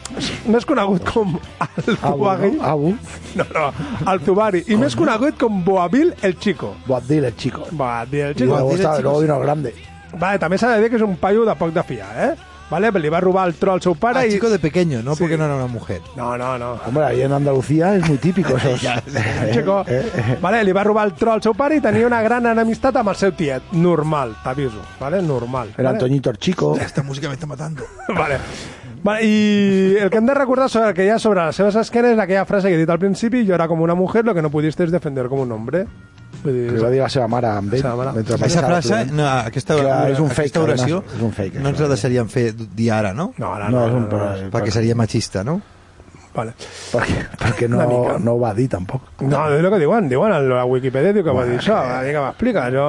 [SPEAKER 3] Més conegut com
[SPEAKER 4] Ah,
[SPEAKER 5] Ah,
[SPEAKER 3] Al-Zubairi...
[SPEAKER 4] Abu, no? Abu.
[SPEAKER 3] No, no, Al-Zubairi. I més conegut com Boabil el Chico.
[SPEAKER 4] Boabdil, el eh, chico.
[SPEAKER 3] Boabil el
[SPEAKER 4] Y
[SPEAKER 3] Chico.
[SPEAKER 4] luego,
[SPEAKER 5] Boabdil el
[SPEAKER 4] estaba,
[SPEAKER 5] chico,
[SPEAKER 4] luego
[SPEAKER 5] sí.
[SPEAKER 4] vino grande.
[SPEAKER 3] Vale, també s'ha de dir que és un paio de poc de fiar, eh? ¿vale? Li va robar el tro al seu pare
[SPEAKER 5] Al
[SPEAKER 3] i...
[SPEAKER 5] Ah, chico de pequeño, ¿no? Porque no era una mujer.
[SPEAKER 3] No, no, no.
[SPEAKER 4] Hombre, ahí en Andalucía es muy típico eso. Eh,
[SPEAKER 3] Chico, vale, li va robar el tro al seu pare i tenia una gran enemistat amb el seu tiet. Normal, t'aviso, vale? Normal.
[SPEAKER 4] El
[SPEAKER 3] vale?
[SPEAKER 4] Antoñito el Chico.
[SPEAKER 5] Esta música me está matando.
[SPEAKER 3] (laughs) Vale. Vale, I el que hem de recordar sobre el que hi ha sobre les seves esquenes és aquella frase que he dit al principi jo era com una mujer, lo que no pudiste es defender com un hombre. Vull dir,
[SPEAKER 4] Que li va dir la seva mare amb ell.
[SPEAKER 3] La seva mare.
[SPEAKER 4] mentre
[SPEAKER 5] Aquesta
[SPEAKER 4] passava
[SPEAKER 5] frase,
[SPEAKER 4] l'aturant.
[SPEAKER 5] no, aquesta,
[SPEAKER 4] Clar, és un fake,
[SPEAKER 5] aquesta oració
[SPEAKER 4] además, és un fake,
[SPEAKER 5] no ens la deixaríem fer dir ara, no?
[SPEAKER 3] No, ara no.
[SPEAKER 4] No, és un...
[SPEAKER 3] no,
[SPEAKER 4] Perquè,
[SPEAKER 5] Perquè seria machista, no?
[SPEAKER 3] Vale.
[SPEAKER 4] perquè, perquè no,
[SPEAKER 3] Una mica.
[SPEAKER 4] no ho va dir tampoc.
[SPEAKER 3] No, és el que diuen, diuen a la Wikipedia diu que va dir això, va dir que m'explica, jo,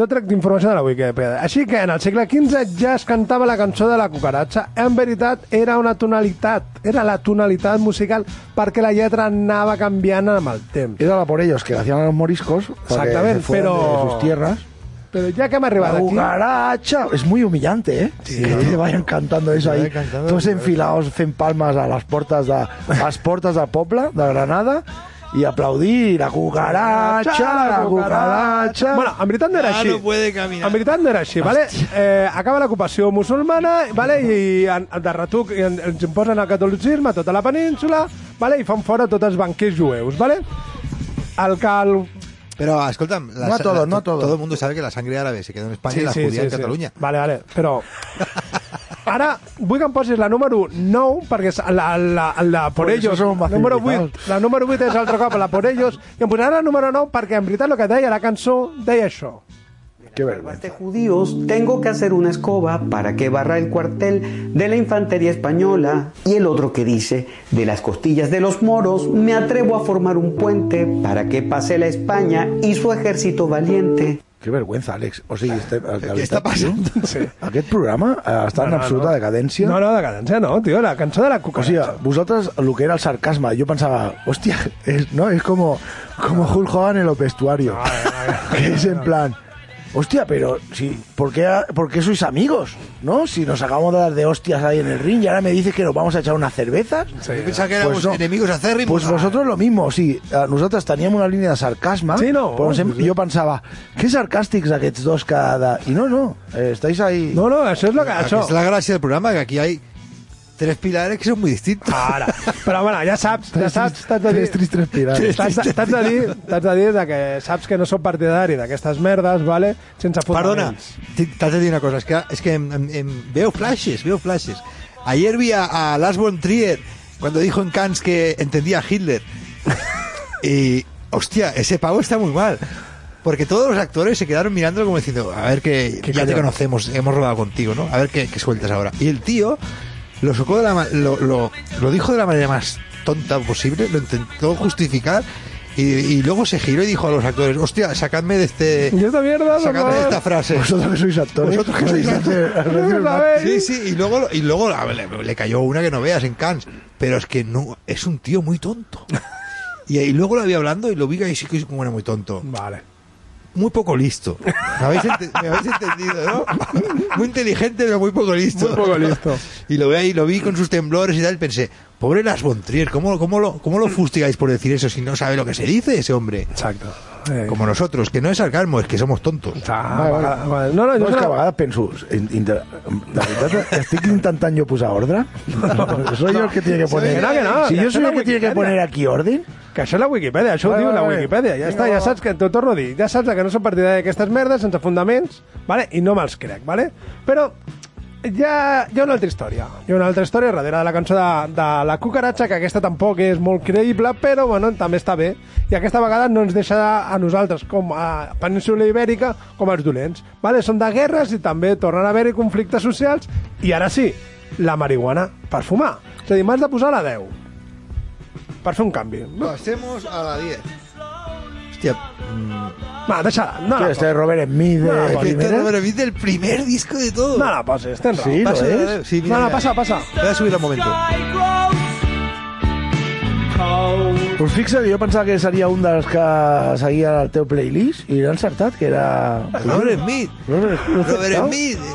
[SPEAKER 3] jo trec d'informació de la Wikipedia. Així que en el segle XV ja es cantava la cançó de la cucaratxa, en veritat era una tonalitat, era la tonalitat musical perquè la lletra anava canviant amb el temps.
[SPEAKER 4] Era la por ellos, que la hacían a los moriscos. para
[SPEAKER 3] Exactament,
[SPEAKER 4] que se fueran
[SPEAKER 3] però-
[SPEAKER 4] De sus tierras.
[SPEAKER 3] Però ja que hem
[SPEAKER 4] La
[SPEAKER 3] arribat aquí...
[SPEAKER 4] cucaracha. Es muy humillante, ¿eh? que te vayan cantando eso ahí.
[SPEAKER 5] vayan cantando.
[SPEAKER 4] Todos enfilados, fent palmas a las puertas de, a las puertas de Popla, de Granada, y aplaudir la cucaracha, la cucaracha.
[SPEAKER 3] Bueno, en veritat no era
[SPEAKER 5] Ah,
[SPEAKER 3] així.
[SPEAKER 5] no puede caminar.
[SPEAKER 3] En veritat no era així, vale? Eh, acaba l'ocupació musulmana, vale? I en, de retuc i en, ens imposen el catolicisme a tota la península, vale? I fan fora tots els banquers jueus, vale? El que el...
[SPEAKER 5] Pero, escolta'm... La,
[SPEAKER 4] No a
[SPEAKER 5] sa-
[SPEAKER 4] todos,
[SPEAKER 5] la-
[SPEAKER 4] no a todos.
[SPEAKER 5] Todo el mundo sabe que la sangre árabe se quedó en España y la judía en Cataluña.
[SPEAKER 3] Vale, vale, però... Ara vull que em posis la número 9, perquè és la, la, la Por
[SPEAKER 4] Por eso
[SPEAKER 3] Ellos,
[SPEAKER 4] somos más
[SPEAKER 3] número 8,
[SPEAKER 4] civilizados.
[SPEAKER 3] la número 8 és altre cop la Por Ellos, i em posarà la número 9 perquè en veritat el que deia la cançó deia això.
[SPEAKER 4] Qué vergüenza.
[SPEAKER 11] este judíos, tengo que hacer una escoba para que barra el cuartel de la infantería española. Y el otro que dice, de las costillas de los moros, me atrevo a formar un puente para que pase la España y su ejército valiente.
[SPEAKER 4] Qué vergüenza, Alex. O sigui, este,
[SPEAKER 5] Què està passant?
[SPEAKER 3] Sí.
[SPEAKER 4] Aquest programa eh, està en absoluta decadència.
[SPEAKER 3] No, no, de cadència no, tio, la cançó de la
[SPEAKER 4] O
[SPEAKER 3] cucaracha.
[SPEAKER 4] sea, vosotras lo que era el sarcasmo, yo pensaba, hostia, es, ¿no? Es como, como Hulk Hogan en los vestuarios.
[SPEAKER 3] Ah,
[SPEAKER 4] (laughs) que es en plan, hostia, pero si, ¿por, qué, por qué sois amigos? ¿No? Si nos acabamos de dar de hostias ahí en el ring y ahora me dices que nos vamos a echar unas cervezas.
[SPEAKER 5] Yo pensaba que éramos
[SPEAKER 4] Pues no.
[SPEAKER 5] enemigos acérrimos.
[SPEAKER 4] Pues vosotros lo mismo, sí. Eh, Nosaltres teníem una línia de sarcasme,
[SPEAKER 3] Sí, no.
[SPEAKER 4] però sempre, jo pensava, que sarcàstics aquests dos cada... I no, no, eh, estáis ahí...
[SPEAKER 3] No, no, això és lo que...
[SPEAKER 5] Ah, que
[SPEAKER 3] Això.
[SPEAKER 5] Es la gracia del programa, que aquí hay tres pilares que son muy distintos.
[SPEAKER 3] Ara. Però, bueno, ja saps, ja saps, t'has de
[SPEAKER 4] Tres, tres,
[SPEAKER 3] dir...
[SPEAKER 4] tres, pirates.
[SPEAKER 3] T'has de- t'has de dir, t'has de dir de que saps que no sóc partidari d'aquestes merdes, vale? Sense
[SPEAKER 5] Perdona,
[SPEAKER 3] fundaments.
[SPEAKER 5] te- t'has de dir una cosa, es que, es que em- em- em- veo flashes, veo flashes. Ayer vi a, a Lars von Trier cuando dijo en Cannes que entendía a Hitler. Y, hostia, ese pavo está muy mal. Porque todos los actores se quedaron mirándolo como diciendo, a ver que ya te
[SPEAKER 3] cabrón.
[SPEAKER 5] conocemos, hemos rodado contigo, ¿no? A ver qué, qué sueltas ahora. Y el tío lo sacó de la ma- lo, lo- lo dijo de la manera más tonta posible, lo intentó justificar y, y luego se giró y dijo a los actores, hostia, sacadme de este...
[SPEAKER 3] I esta mierda, per
[SPEAKER 5] Sacadme de
[SPEAKER 3] favor.
[SPEAKER 5] esta frase.
[SPEAKER 4] Vosotros que sois actores.
[SPEAKER 5] Vosotros que sois
[SPEAKER 4] podéis
[SPEAKER 5] actores.
[SPEAKER 4] hacer- hacer
[SPEAKER 3] No
[SPEAKER 4] un
[SPEAKER 3] sabéis.
[SPEAKER 5] Sí, sí, y luego, y luego a ver, le, le cayó una que no veas en Cannes. Pero es que no, es un tío muy tonto. Y, y luego lo vi hablando y lo vi que sí que es como era muy tonto.
[SPEAKER 3] Vale.
[SPEAKER 5] Muy poco listo. ¿Me habéis, ente- me habéis entendido, no? Muy inteligente, pero muy poco listo.
[SPEAKER 3] Muy poco listo.
[SPEAKER 5] Y lo vi ahí, lo vi con sus temblores y tal, y pensé, pobre Las Bontrier, ¿cómo, cómo, lo, ¿cómo lo fustigáis por decir eso si no sabe lo que se dice ese hombre?
[SPEAKER 3] Exacto. Eh,
[SPEAKER 5] Como nosotros, que no es sarcasmo, es que somos tontos.
[SPEAKER 3] Ah,
[SPEAKER 4] Vale,
[SPEAKER 3] vale,
[SPEAKER 4] vale.
[SPEAKER 3] vale. No, no, jo
[SPEAKER 4] No, és que a
[SPEAKER 3] no-
[SPEAKER 4] vegades penso, in- inter- la veritat, estic intentant jo posar ordre? Soy yo el que tiene que poner...
[SPEAKER 3] que no, que no,
[SPEAKER 4] si
[SPEAKER 3] que
[SPEAKER 4] yo
[SPEAKER 3] això
[SPEAKER 4] soy
[SPEAKER 3] és la
[SPEAKER 4] el que tiene que
[SPEAKER 3] Wikipedia.
[SPEAKER 4] poner aquí orden...
[SPEAKER 3] Que això és la Wikipedia, això ho
[SPEAKER 4] Vale,
[SPEAKER 3] diu la
[SPEAKER 4] vale.
[SPEAKER 3] Wikipedia. Ja està, ja saps que t'ho torno a dir. Ja saps que no som partidari d'aquestes merdes sense fundaments, vale? i no me'ls crec, vale? però ja, hi ha una altra història. Hi ha una altra història darrere de la cançó de, de la cucaratxa, que aquesta tampoc és molt creïble, però bueno, també està bé. I aquesta vegada no ens deixa a nosaltres, com a península ibèrica, com els dolents. Vale? Són de guerres i també tornen a haver-hi conflictes socials. I ara sí, la marihuana per fumar. És a dir, m'has de posar la 10 per fer un canvi.
[SPEAKER 5] Pasemos a la 10. Hostia,
[SPEAKER 3] Va, deixa-la. No,
[SPEAKER 4] Este
[SPEAKER 3] la
[SPEAKER 4] este
[SPEAKER 3] posis.
[SPEAKER 4] Robert Smith de
[SPEAKER 3] No,
[SPEAKER 5] Este
[SPEAKER 4] primera.
[SPEAKER 5] número es del primer disco de todo.
[SPEAKER 3] no la posis, tens raó. eh?
[SPEAKER 4] Sí, lo
[SPEAKER 5] Pasa,
[SPEAKER 4] es.
[SPEAKER 5] sí, mira,
[SPEAKER 3] no, no,
[SPEAKER 5] mira.
[SPEAKER 3] passa, passa.
[SPEAKER 5] Voy a subir un momento.
[SPEAKER 4] Pues fixa que jo pensava que seria un dels que seguia el teu playlist i l'he encertat, que era...
[SPEAKER 5] Robert Smith.
[SPEAKER 4] Robert Smith,
[SPEAKER 5] Robert
[SPEAKER 4] ¿no?
[SPEAKER 5] Smith.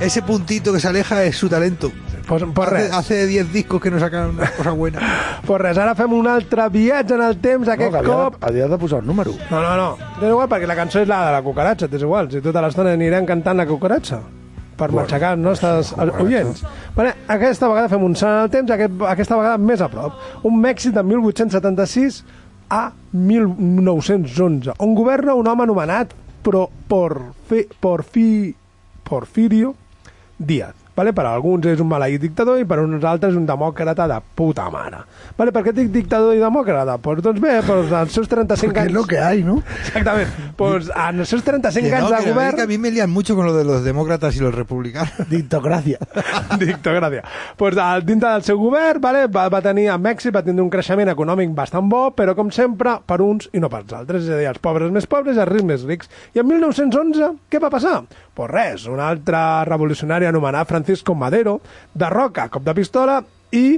[SPEAKER 5] Ese puntito que se aleja es su talento.
[SPEAKER 3] Pues, pues
[SPEAKER 5] Hace-
[SPEAKER 3] res,
[SPEAKER 5] Hace 10 discos que no sacan una cosa
[SPEAKER 4] (laughs)
[SPEAKER 5] buena.
[SPEAKER 3] pues res, ara fem un altre viatge en el temps,
[SPEAKER 4] No,
[SPEAKER 3] aquest
[SPEAKER 4] que havia,
[SPEAKER 3] cop...
[SPEAKER 4] de, havia de posar un número.
[SPEAKER 3] No, no, no, t'és igual, perquè la cançó és la de la cucaratxa, t'és igual, si tota l'estona anirem cantant la cucaratxa. per matxacar els nostres oients. Vale, aquesta vegada fem un salt en el temps, aquest, aquesta vegada més a prop. Un Mèxic de 1876 a 1911, on governa un home anomenat Pro, Porfi, Porfi, Porfirio Díaz. Vale? Per a alguns és un maleït dictador i per a uns altres un demòcrata de puta mare. Vale? Per què dic dictador i demòcrata? Pues, doncs bé, pues, als seus 35
[SPEAKER 4] Porque
[SPEAKER 3] anys...
[SPEAKER 4] es lo que hay, ¿no?
[SPEAKER 3] Exactament. Pues, en els seus 35
[SPEAKER 5] Que no,
[SPEAKER 3] anys
[SPEAKER 5] que
[SPEAKER 3] de
[SPEAKER 5] la
[SPEAKER 3] govern...
[SPEAKER 5] América a
[SPEAKER 3] (laughs)
[SPEAKER 5] mí me lían mucho con lo de los demócratas y los republicanos.
[SPEAKER 4] Dictocracia.
[SPEAKER 3] Dictocràcia. Pues, al, dintre del seu govern vale, va, va tenir a Mèxic, va tindre un creixement econòmic bastant bo, però com sempre, per uns i no pels altres. És a dir, els pobres més pobres i els rics més rics. I en 1911, què va passar? Pues res, un altre revolucionari anomenat Francisco Madero, de roca, cop de pistola, i,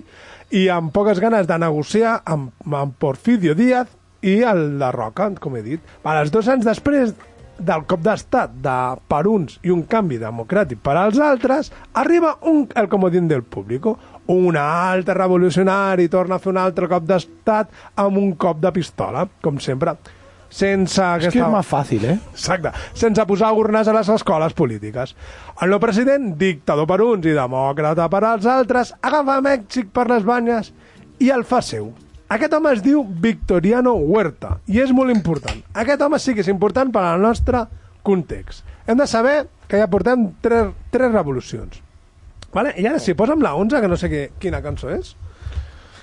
[SPEAKER 3] i amb poques ganes de negociar amb, amb Porfirio Díaz i el de Roca, com he dit. A les dos anys després del cop d'estat de per uns i un canvi democràtic per als altres, arriba un, el comodín del públic. Un altre revolucionari torna a fer un altre cop d'estat amb un cop de pistola, com sempre. Sense aquesta...
[SPEAKER 4] que és més fàcil, eh?
[SPEAKER 3] Exacte. Sense posar urnes a les escoles polítiques. El nou president, dictador per uns i demòcrata per als altres, agafa Mèxic per les banyes i el fa seu. Aquest home es diu Victoriano Huerta i és molt important. Aquest home sí que és important per al nostre context. Hem de saber que ja portem tres, tres revolucions. Vale? I ara, si posa'm la 11, que no sé que, quina cançó és,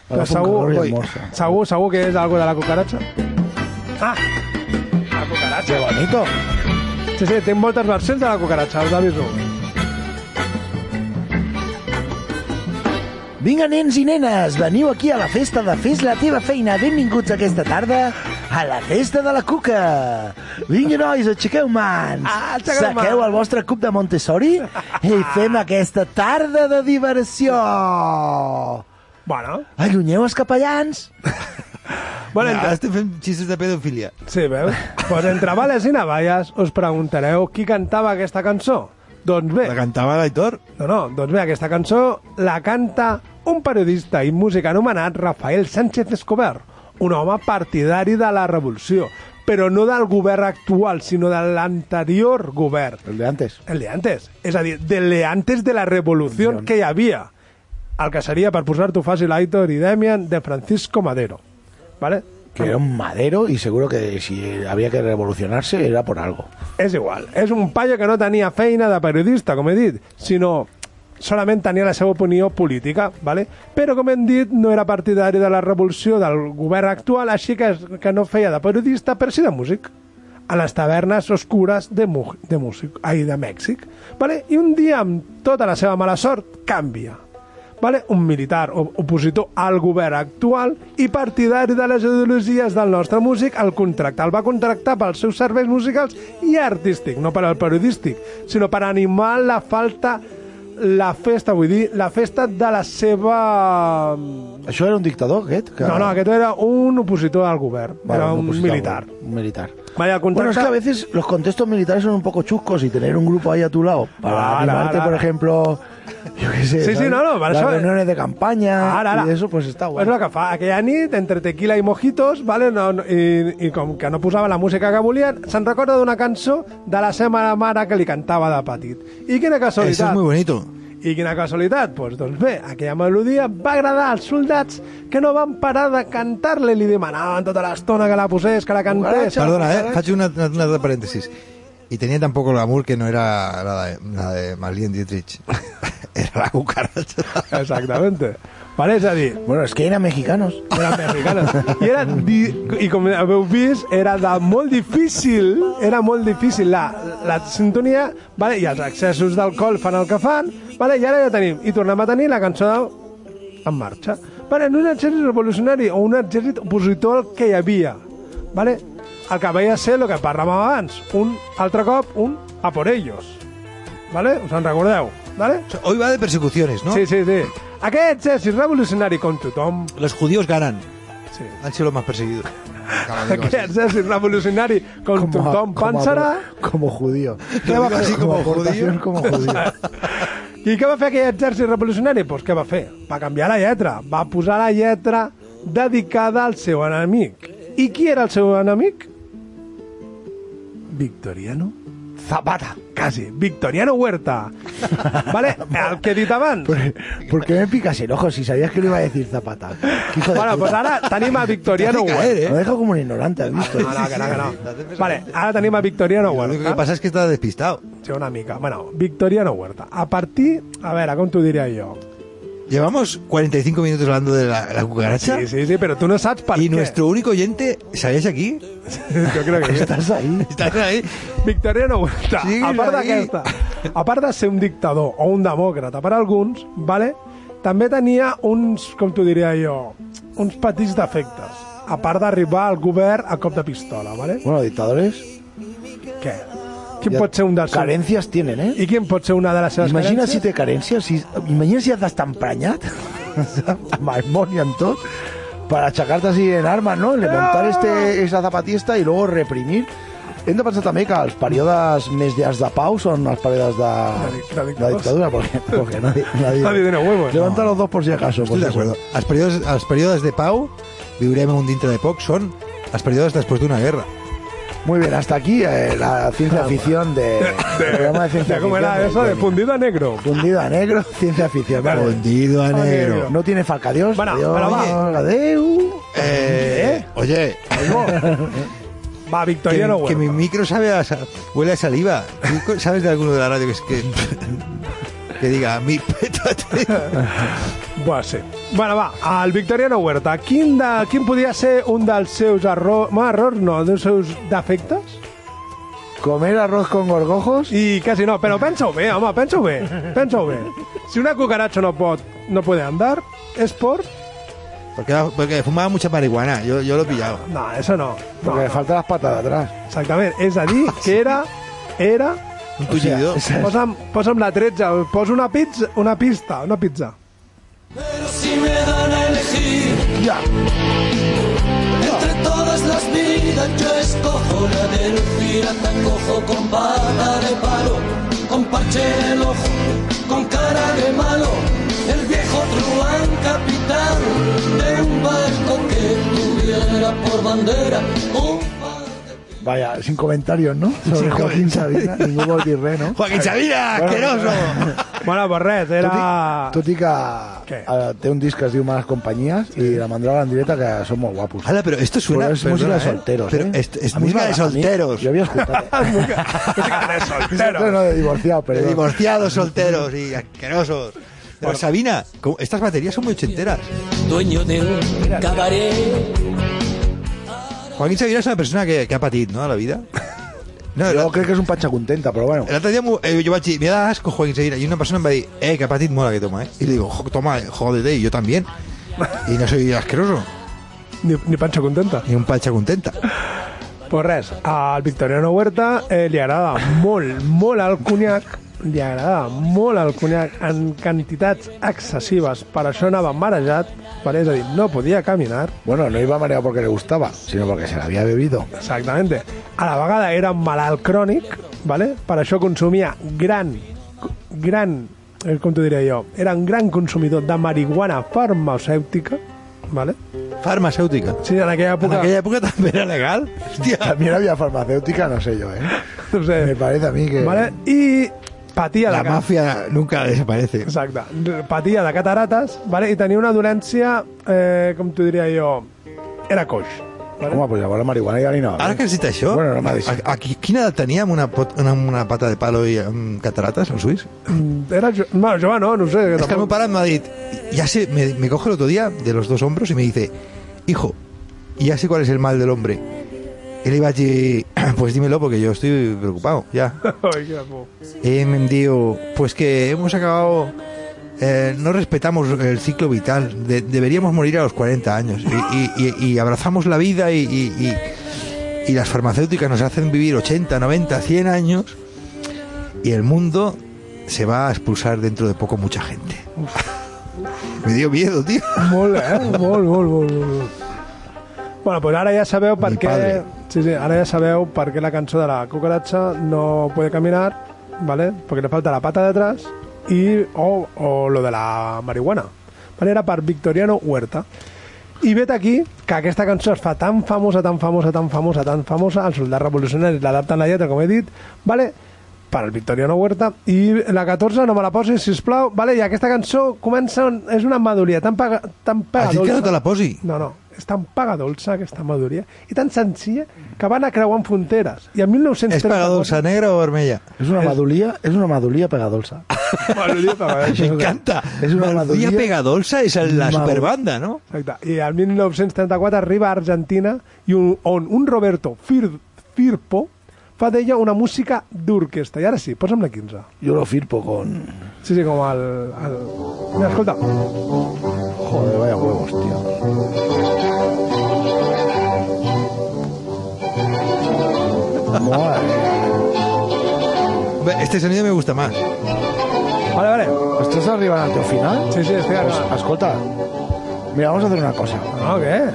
[SPEAKER 3] però
[SPEAKER 4] Agafa un
[SPEAKER 3] segur,
[SPEAKER 4] calor i
[SPEAKER 3] oi,
[SPEAKER 4] almorza.
[SPEAKER 3] segur, segur que és algo de la cucaracha. Ah! La cucaracha.
[SPEAKER 4] Qué bonito.
[SPEAKER 3] Sí, sí, tinc moltes versions de la cucaracha, us aviso.
[SPEAKER 4] Vinga, nens i nenes, veniu aquí a la festa de Fes la teva feina. Benvinguts aquesta tarda a la festa de la cuca. Vinga, nois, aixequeu mans.
[SPEAKER 3] Ah, aixequeu
[SPEAKER 4] Saqueu
[SPEAKER 3] mans.
[SPEAKER 4] el vostre cup de Montessori
[SPEAKER 3] (laughs)
[SPEAKER 4] i fem aquesta tarda de diversió.
[SPEAKER 3] Bueno,
[SPEAKER 4] Allunyeu els capellans.
[SPEAKER 5] (laughs)
[SPEAKER 3] bueno
[SPEAKER 5] Ahora
[SPEAKER 3] entre...
[SPEAKER 5] estoy haciendo este chistes de pedofilia.
[SPEAKER 3] Sí, veus? pues entre bales i navalles us preguntareu qui cantava aquesta cançó. Doncs bé,
[SPEAKER 5] La cantaba el Aitor.
[SPEAKER 3] no, no, doncs bé, aquesta cançó la canta un periodista i músic anomenat Rafael Sánchez Escobar, un home partidari de la revolució, però no del govern actual, sinó de l'anterior govern.
[SPEAKER 4] El de antes.
[SPEAKER 3] El de antes. És a dir, del de antes de la revolució que hi havia. El que seria, per posar-t'ho fàcil, Aitor i Demian, de Francisco Madero. ¿Vale?
[SPEAKER 4] Que era un madero y seguro que si había que revolucionarse era por algo.
[SPEAKER 3] És igual. És un paio que no tenia feina de periodista, com he dit, sinó solament tenia la seva opinió política, ¿vale? però com hem dit no era partidari de la revolució del govern actual, així que, que no feia de periodista, però sí de músic a les tavernes oscures de, Mu- de, músic, ai, de Mèxic. ¿vale? I un dia, amb tota la seva mala sort, canvia. ¿vale? un militar o- opositor al govern actual i partidari de les ideologies del nostre músic, el contractar. El va contractar pels seus serveis musicals i artístic, no per al periodístic, sinó per animar la falta la festa, vull dir, la festa de la seva...
[SPEAKER 4] Això era un dictador, aquest? Que...
[SPEAKER 3] No, no, aquest era un opositor al govern,
[SPEAKER 4] Vale,
[SPEAKER 3] era
[SPEAKER 4] un
[SPEAKER 3] un,
[SPEAKER 4] opositor,
[SPEAKER 3] militar.
[SPEAKER 4] Un militar.
[SPEAKER 3] Vaya, el
[SPEAKER 4] Bueno, es que
[SPEAKER 3] contracte...
[SPEAKER 4] a veces los contextos militares son un poco chuscos y tener un grupo ahí a tu lado
[SPEAKER 3] Ara,
[SPEAKER 4] para animarte,
[SPEAKER 3] ara,
[SPEAKER 4] por
[SPEAKER 3] ara.
[SPEAKER 4] ejemplo, yo qué sé,
[SPEAKER 3] Sí, sí,
[SPEAKER 4] ¿sabes?
[SPEAKER 3] no, no, para
[SPEAKER 4] las
[SPEAKER 3] eso-
[SPEAKER 4] reuniones de campaña
[SPEAKER 3] Ara, ara.
[SPEAKER 4] y eso, pues está guay.
[SPEAKER 3] És el que fa. Aquella nit, entre tequila i mojitos, vale? no, no, i, i com que no posava la música que volien, se'n recorda d'una cançó de la seva mare que li cantava de petit. I quina
[SPEAKER 5] Eso es
[SPEAKER 3] casualitat.
[SPEAKER 5] muy bonito.
[SPEAKER 3] I quina casualitat? Pues, doncs bé, aquella melodia va agradar als soldats que no van parar de cantar-la i li demanaven tota l'estona que la posés, que la cantés.
[SPEAKER 5] Perdona, eh? Faig una, una, una otra paréntesis. Y tenía tampoco el amor que no era la de, la de Marlene Dietrich. (laughs) era la cucaracha.
[SPEAKER 3] Exactamente. Vale, és a dir,
[SPEAKER 4] Bueno, es que
[SPEAKER 3] (laughs)
[SPEAKER 4] eran mexicanos.
[SPEAKER 3] eren mexicanes. I, era di I com heu vist, era de molt difícil, era molt difícil la, la sintonia, vale? i els excessos d'alcohol fan el que fan, vale? i ara ja tenim, i tornem a tenir la cançó de... en marxa. Vale, en un exèrcit revolucionari o un exèrcit opositor al que hi havia. Vale? El que veia ser el que parlàvem abans, un altre cop, un a por ellos. Vale? Us en recordeu? Vale?
[SPEAKER 5] Hoy va de persecuciones, ¿no?
[SPEAKER 3] Sí, sí, sí. Aquest exèrcit revolucionari com tothom,
[SPEAKER 5] Los judíos ganan.
[SPEAKER 3] Sí.
[SPEAKER 5] Han sido los más perseguidos. Cada vez que
[SPEAKER 3] Aquest exèrcit revolucionari com tothom pensarà...
[SPEAKER 4] Como,
[SPEAKER 3] (laughs)
[SPEAKER 4] como judío.
[SPEAKER 5] Lo digo así como
[SPEAKER 4] aportación,
[SPEAKER 5] judío.
[SPEAKER 4] como judío.
[SPEAKER 3] I què va fer aquell exèrcit revolucionari? Doncs què va fer? Va canviar la lletra. Va posar la lletra dedicada al seu enemic. I qui era el seu enemic? Victoriano Zapata, casi. Victoriano Huerta. ¿Vale? El que he dit abans.
[SPEAKER 4] Pues, ¿Por qué me picas el ojo si sabías que lo iba a decir Zapata? Qué hijo de
[SPEAKER 3] Bueno,
[SPEAKER 4] puta.
[SPEAKER 3] pues ara tenim a Victoriano
[SPEAKER 4] Te hace
[SPEAKER 3] Huerta.
[SPEAKER 4] caer, ¿eh? (laughs) Lo dejo como un ignorante, ¿has visto?
[SPEAKER 3] No, no, que no, que no. Vale, ara tenim a Victoriano Huerta.
[SPEAKER 5] Lo que pasa es que está despistado.
[SPEAKER 3] Sí, una mica. Bueno, Victoriano Huerta. A partir... A veure, com t'ho diria jo?
[SPEAKER 5] Llevamos 45 minutos hablando de la, la cucaracha.
[SPEAKER 3] Sí, sí, sí, pero tú no sabes para
[SPEAKER 5] Y
[SPEAKER 3] qué. (laughs)
[SPEAKER 5] nuestro único oyente, ¿sabéis aquí?
[SPEAKER 3] Yo creo que sí.
[SPEAKER 4] (laughs) Estás ahí.
[SPEAKER 5] Estás ahí.
[SPEAKER 3] Victoriano Huerta,
[SPEAKER 5] Sigues
[SPEAKER 3] a part
[SPEAKER 5] ahí.
[SPEAKER 3] d'aquesta, a part de ser un dictador o un demòcrata per alguns, vale, també tenia uns, com t'ho diria jo, uns petits defectes, a part d'arribar al govern a cop de pistola, vale?
[SPEAKER 4] Bueno, dictadores.
[SPEAKER 3] Què? Quin pot ser un dels...
[SPEAKER 4] Carencias tienen, ¿eh?
[SPEAKER 3] I quin pot ser una de les seves
[SPEAKER 4] Imagina
[SPEAKER 3] carències?
[SPEAKER 4] si té carències, si, imagina si has d'estar (laughs) emprenyat, amb el món i amb tot, per aixecar-te així en armes, no? Le
[SPEAKER 3] Ah.
[SPEAKER 4] montar este, esa zapatista i luego reprimir. Hem de pensar també que els períodes més llargs de pau són els períodes de,
[SPEAKER 3] de
[SPEAKER 4] de, dictadura,
[SPEAKER 3] (laughs)
[SPEAKER 4] perquè, perquè nadie, nadie,
[SPEAKER 3] Nadie tiene huevos.
[SPEAKER 4] Levanta los dos por si acaso.
[SPEAKER 5] Estic
[SPEAKER 4] pues eso.
[SPEAKER 5] d'acord. Els períodes, els períodes de pau, viurem un dintre de poc, són els períodes després d'una guerra.
[SPEAKER 4] Muy bien, hasta aquí eh, la ciencia ficción
[SPEAKER 3] (laughs)
[SPEAKER 4] de... el programa de ciencia
[SPEAKER 3] Ya, ¿Cómo era
[SPEAKER 4] ficción
[SPEAKER 3] eso? De fundido a negro.
[SPEAKER 4] Fundido a negro, (laughs) ciencia ficción. vale.
[SPEAKER 5] Hundido a
[SPEAKER 3] negro.
[SPEAKER 4] No tiene falca, adiós.
[SPEAKER 3] Bueno,
[SPEAKER 4] adiós,
[SPEAKER 3] pero va.
[SPEAKER 4] adeu.
[SPEAKER 5] Eh, oye,
[SPEAKER 3] Va,
[SPEAKER 5] que,
[SPEAKER 3] Victoriano
[SPEAKER 5] que
[SPEAKER 3] Huerta.
[SPEAKER 5] mi micro sabe a sa- huele a saliva. ¿Tú co- ¿Sabes de alguno de la radio que es que... Que diga, mi pétate.
[SPEAKER 3] Buah, sí. Bueno, va, el Victoriano Huerta. Quin, de, quin podria ser un dels seus errors... No, errors no, dels seus defectes?
[SPEAKER 4] Comer arroz con gorgojos.
[SPEAKER 3] I quasi no, però pensa-ho bé, home, pensa-ho bé. Pensa-ho bé. Si una cucaracha no pot, no puede andar, és por...
[SPEAKER 5] Porque, porque fumaba mucha marihuana, yo, yo lo pillaba.
[SPEAKER 3] No, eso no. no,
[SPEAKER 4] Porque le
[SPEAKER 3] no.
[SPEAKER 4] faltan las patas de atrás.
[SPEAKER 3] Exactament. És a dir, que era... Era...
[SPEAKER 5] Un tullido.
[SPEAKER 4] (laughs) Esa es-
[SPEAKER 3] Posa'm, posa'm la 13, posa una pizza, una pista, una pizza.
[SPEAKER 10] Si me dan a elegir
[SPEAKER 4] Ya.
[SPEAKER 10] entre todas las vidas, yo escojo la del pirata cojo con pata de palo, con parche en el ojo, con cara de malo. El viejo truán capitán de
[SPEAKER 6] um
[SPEAKER 10] un barco que tuviera por bandera un
[SPEAKER 4] Vaya, sin
[SPEAKER 5] (laughs)
[SPEAKER 4] comentarios, ¿no? Sobre Joaquín Sabina, ningú vol dir res, no?
[SPEAKER 5] ¡Joaquín Sabina, asqueroso!
[SPEAKER 3] Bueno, pues res, era...
[SPEAKER 4] Tot i que
[SPEAKER 3] Què?
[SPEAKER 4] eh, té un disc que es diu Males Companyies i la mandrava en directe que són molt guapos.
[SPEAKER 5] Hala, pero esto suena...
[SPEAKER 4] Però és música
[SPEAKER 5] perdona,
[SPEAKER 4] de solteros,
[SPEAKER 5] eh? Pero
[SPEAKER 4] eh?
[SPEAKER 5] es, es
[SPEAKER 4] A mi
[SPEAKER 5] música de
[SPEAKER 4] m'agrada, a mi-
[SPEAKER 5] solteros.
[SPEAKER 4] Jo
[SPEAKER 3] (laughs)
[SPEAKER 4] havia escoltat... (laughs)
[SPEAKER 3] soltero.
[SPEAKER 4] No, de divorciado,
[SPEAKER 5] De
[SPEAKER 4] perdó. (laughs)
[SPEAKER 5] divorciados, solteros y asquerosos. Pero Sabina, como- estas baterías son muy ochenteras.
[SPEAKER 10] dueño de un cabaret.
[SPEAKER 5] Joaquín Sabina es una persona que, que ha patit, ¿no? A la vida. No,
[SPEAKER 4] Jo
[SPEAKER 5] el,
[SPEAKER 4] crec que és un patxa contenta, però bueno.
[SPEAKER 5] el otro día mu- eh, yo vaig dir, me da asco Joaquín Sabina. Y una persona me va a decir, eh, que ha patit mola que toma, ¿eh? Y le digo, "Jo, toma, jódete, y yo también. Y no soy asqueroso,
[SPEAKER 3] Ni, ni Pancho contenta.
[SPEAKER 5] ni un pacha contenta.
[SPEAKER 3] Pues res, al Victoriano Huerta eh, li agrada molt, molt el conyac, li agrada molt el conyac en quantitats excessives, per això anava marejat, per és a dir, no podia caminar,
[SPEAKER 4] Bueno, no iba mareado porque le gustaba, sino porque se la había bebido.
[SPEAKER 3] exactament. A la vegada era un malalt crònic, ¿vale? per això consumia gran, gran, eh, com t'ho diré jo, era un gran consumidor de marihuana farmacèutica, ¿vale?
[SPEAKER 5] Farmacéutica.
[SPEAKER 3] Sí, en aquella
[SPEAKER 5] En
[SPEAKER 3] època...
[SPEAKER 5] aquella época también era legal. Hostia.
[SPEAKER 4] También había farmacéutica, no sé yo, ¿eh?
[SPEAKER 3] No sé,
[SPEAKER 4] Me parece a mí que...
[SPEAKER 3] ¿vale? I patia
[SPEAKER 5] eh, La
[SPEAKER 3] de cap.
[SPEAKER 5] mafia nunca desaparece.
[SPEAKER 3] Exacte. Patia de catarates, vale? i tenia una dolència, eh, com t'ho diria jo, era coix.
[SPEAKER 4] Home, pues llavors la marihuana ja li anava
[SPEAKER 5] Ara
[SPEAKER 4] bé.
[SPEAKER 5] que has dit això,
[SPEAKER 4] Bueno, no m'ha dit.
[SPEAKER 5] a, a, qui- quina edat teníem una, pot, una, una pata de palo i amb catarates als ulls?
[SPEAKER 3] Mm, Era jo... Bueno, jove no, no ho sé.
[SPEAKER 5] Es que el meu pare m'ha dit, ya sé, me, me coge el otro día de los dos hombros y me dice, hijo, ya sé cuál es el mal del hombre. Él iba allí, (clears throat) pues dímelo porque yo estoy preocupado, ya.
[SPEAKER 3] (laughs) Ai, que por.
[SPEAKER 5] Y me dijo, pues que hemos acabado, eh, no respetamos el ciclo vital, de- deberíamos morir a los 40 años y, y- y- y abrazamos la vida y, y- y- y las farmacéuticas nos hacen vivir 80, 90, 100 años y el mundo se va a expulsar dentro de poco mucha gente. Me dio miedo, tío.
[SPEAKER 3] Molt, eh? Molt, molt, molt, molt. Bueno, pues ara ja sabeu per
[SPEAKER 5] Mi
[SPEAKER 3] què...
[SPEAKER 5] padre.
[SPEAKER 3] Sí, sí, ara ja sabeu per què la cançó de la cucaracha no puede caminar, ¿vale? Porque le falta la pata de atrás y o, o lo de la marihuana. ¿Vale? Era per Victoriano Huerta. I vet aquí que aquesta cançó es fa tan famosa, tan famosa, tan famosa, tan famosa, els soldats revolucionaris l'adapten la lletra, com he dit, vale? per al Victoriano Huerta. I la 14, no me la posis, sisplau. Vale, I aquesta cançó comença... on- És una maduria tan, paga,
[SPEAKER 5] Has
[SPEAKER 3] tan
[SPEAKER 5] dit
[SPEAKER 3] pagadolça...
[SPEAKER 5] que no te la posi.
[SPEAKER 3] No, no. És tan pagadolça, aquesta maduria, i tan senzilla, que van a creuant fronteres. I en 1930...
[SPEAKER 5] És
[SPEAKER 3] (laughs)
[SPEAKER 5] pagadolça negra o vermella?
[SPEAKER 4] És una madulia, és una madulia pegadolsa.
[SPEAKER 5] M'encanta.
[SPEAKER 4] És una
[SPEAKER 5] Maduria
[SPEAKER 4] maduria...
[SPEAKER 5] Pegadolsa és el- la
[SPEAKER 4] Madu-
[SPEAKER 5] superbanda, no?
[SPEAKER 3] Exacte. I el 1934 arriba a Argentina i un, on un Roberto Fir, Firpo fa d'ella una música d'orquestra. I ara sí, posa'm la 15.
[SPEAKER 4] Jo lo firpo con...
[SPEAKER 3] Sí, sí, com el... el... Mira, escolta.
[SPEAKER 4] Joder, vaya huevos, tío.
[SPEAKER 5] Ve, Este sonido me gusta más.
[SPEAKER 3] Vale, vale.
[SPEAKER 4] ¿Estás arriba al teu final?
[SPEAKER 3] Sí, sí, estoy arribant.
[SPEAKER 4] Pues, escolta, mira, vamos a hacer una cosa.
[SPEAKER 3] No, ¿qué?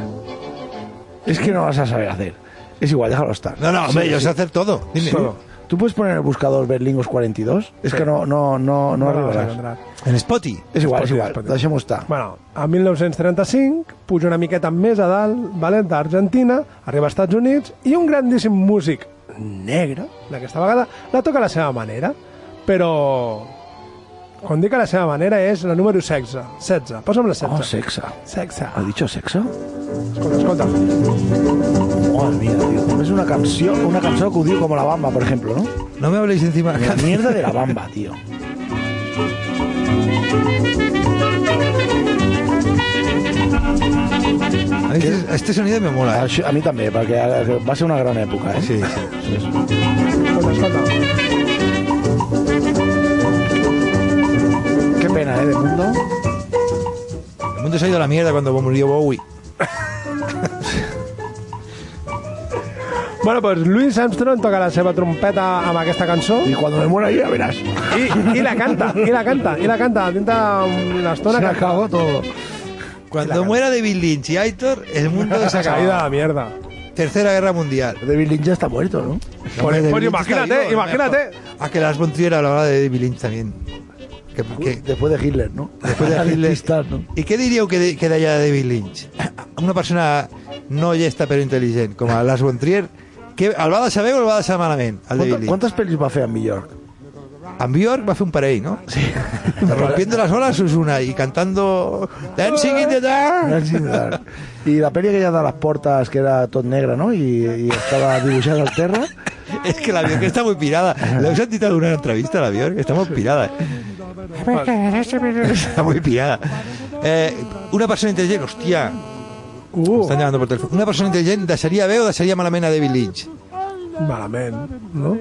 [SPEAKER 4] Es que no vas a saber hacer. Es igual, déjalo estar.
[SPEAKER 5] No, no, hombre, yo sé hacer todo. Dime.
[SPEAKER 4] Todo. ¿Tú puedes poner en el buscador Berlingos 42? Es que no, no, no, no,
[SPEAKER 3] No lo vas a
[SPEAKER 4] arribaràs.
[SPEAKER 3] encontrar.
[SPEAKER 5] En Spotty.
[SPEAKER 4] És igual, és
[SPEAKER 3] Spotify,
[SPEAKER 4] igual.
[SPEAKER 3] Spotify.
[SPEAKER 4] Deixem-ho estar.
[SPEAKER 3] Bueno, a 1935 puja una miqueta més a dalt, vale, d'Argentina, arriba als Estats Units i un grandíssim músic negre, d'aquesta vegada, la toca a la seva manera, però... Quan dic a la seva manera és la número 16. 16. Posa'm la 16.
[SPEAKER 4] Oh, sexe.
[SPEAKER 3] Sexe.
[SPEAKER 4] ¿Ha dicho sexo?
[SPEAKER 3] Escolta, escolta.
[SPEAKER 4] Madre mía, tío. Es una canción, una canción que odio como La Bamba, por ejemplo, ¿no?
[SPEAKER 5] No me habléis encima.
[SPEAKER 4] La
[SPEAKER 5] (laughs)
[SPEAKER 4] mierda de La Bamba, tío.
[SPEAKER 5] A veces- Este sonido me mola.
[SPEAKER 4] A,
[SPEAKER 5] ¿eh?
[SPEAKER 4] a mí también, porque va a ser una gran época, ¿eh?
[SPEAKER 5] Sí, sí.
[SPEAKER 3] Escolta, escolta.
[SPEAKER 4] Qué pena, ¿eh? De mundo.
[SPEAKER 5] El mundo se ha ido a la mierda cuando murió Bowie.
[SPEAKER 3] Bueno, doncs Louis Armstrong toca la seva trompeta amb aquesta cançó
[SPEAKER 4] Y cuando me muera ya verás. Se
[SPEAKER 3] i, i la canta, i la canta, i la canta. Dintre una estona...
[SPEAKER 4] me
[SPEAKER 3] que- (laughs)
[SPEAKER 4] acabó todo.
[SPEAKER 5] Cuando muera David Lynch y Aitor, el mundo se
[SPEAKER 3] Esa caída a
[SPEAKER 5] acaba.
[SPEAKER 3] (laughs) la mierda.
[SPEAKER 5] Tercera guerra mundial.
[SPEAKER 4] David Lynch ya está muerto, ¿no?
[SPEAKER 3] Pues-
[SPEAKER 5] David
[SPEAKER 3] pues
[SPEAKER 5] Lynch está
[SPEAKER 3] imagínate,
[SPEAKER 5] vivo, a lo mejor.
[SPEAKER 3] imagínate.
[SPEAKER 5] A que las Bontriera hablaba de David Lynch también. Que- que-
[SPEAKER 4] Después de Hitler, ¿no?
[SPEAKER 5] Después
[SPEAKER 4] (laughs)
[SPEAKER 5] de Hitler.
[SPEAKER 4] Artistas, ¿no?
[SPEAKER 5] ¿Y qué diríeu que, de, que deia David Lynch? (clears throat) Una persona no llesta però intel·ligent, com a Lars von Trier, que el va deixar bé o el va deixar malament, el David
[SPEAKER 4] ¿Cuánta-
[SPEAKER 5] Lynch?
[SPEAKER 4] ¿Cuántas pelis va a hacer en New York?
[SPEAKER 5] En Bjork va fer un parell, no? Sí. (laughs) Rompiendo las olas es una y cantando Dancing in the dark.
[SPEAKER 4] Dancing in the Dark. Y la peli que ya da las puertas, que era tot negra, ¿no? Y, y estaba dibujada al terra.
[SPEAKER 5] Es que la Bjork está muy pirada. La us han citado en una entrevista, la Bjork, está muy pirada. Está muy pirada. Eh, una persona inteligente, hostia, me
[SPEAKER 3] Uh,
[SPEAKER 5] están llamando por teléfono. Una persona inteligente deixaria bé o deixaria malament a David Lynch?
[SPEAKER 3] malament, no?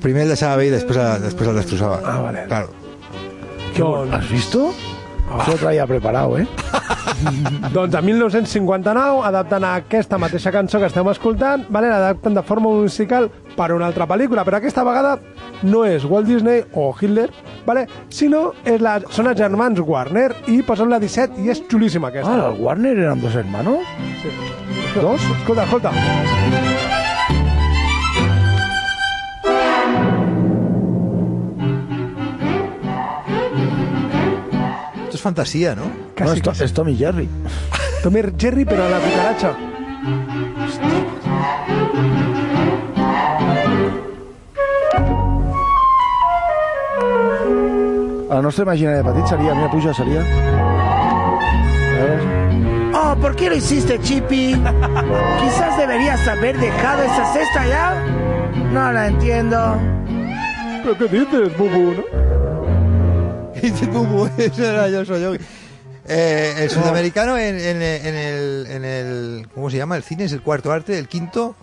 [SPEAKER 5] Primer el deixava bé i després, el- després el destrossava.
[SPEAKER 3] Ah, vale.
[SPEAKER 5] Claro.
[SPEAKER 3] Doncs,
[SPEAKER 4] ¿Has visto? Yo lo traía preparado, ¿eh?
[SPEAKER 3] doncs a 1959, adaptant a aquesta mateixa cançó que estem escoltant, vale, l'adapten de forma musical per una altra pel·lícula, però aquesta vegada no és Walt Disney o Hitler, vale, sinó és la, són els germans Warner i posem la 17 i és xulíssima aquesta.
[SPEAKER 4] Ah, los Warner eran dos hermanos.
[SPEAKER 3] Dos? Escolta, escolta.
[SPEAKER 5] Esto es fantasía, ¿no?
[SPEAKER 4] no,
[SPEAKER 3] Quasi,
[SPEAKER 4] esto,
[SPEAKER 3] quasi.
[SPEAKER 4] es Tommy Jerry.
[SPEAKER 3] Tommy Jerry, però a la cucaracha.
[SPEAKER 4] A no se imagina de Petit sería, mira, puja, sería.
[SPEAKER 12] Oh, ¿por qué lo hiciste, Chippy? Quizás deberías haber dejado esa cesta ya. No la entiendo.
[SPEAKER 3] Però què dices, bubu, no?
[SPEAKER 5] (laughs) Y dice, "Bubu, ese era yo, soy yo". Eh, el sudamericano en, en- en el, en el- ¿Cómo se llama? El cine es el cuarto arte, el quinto.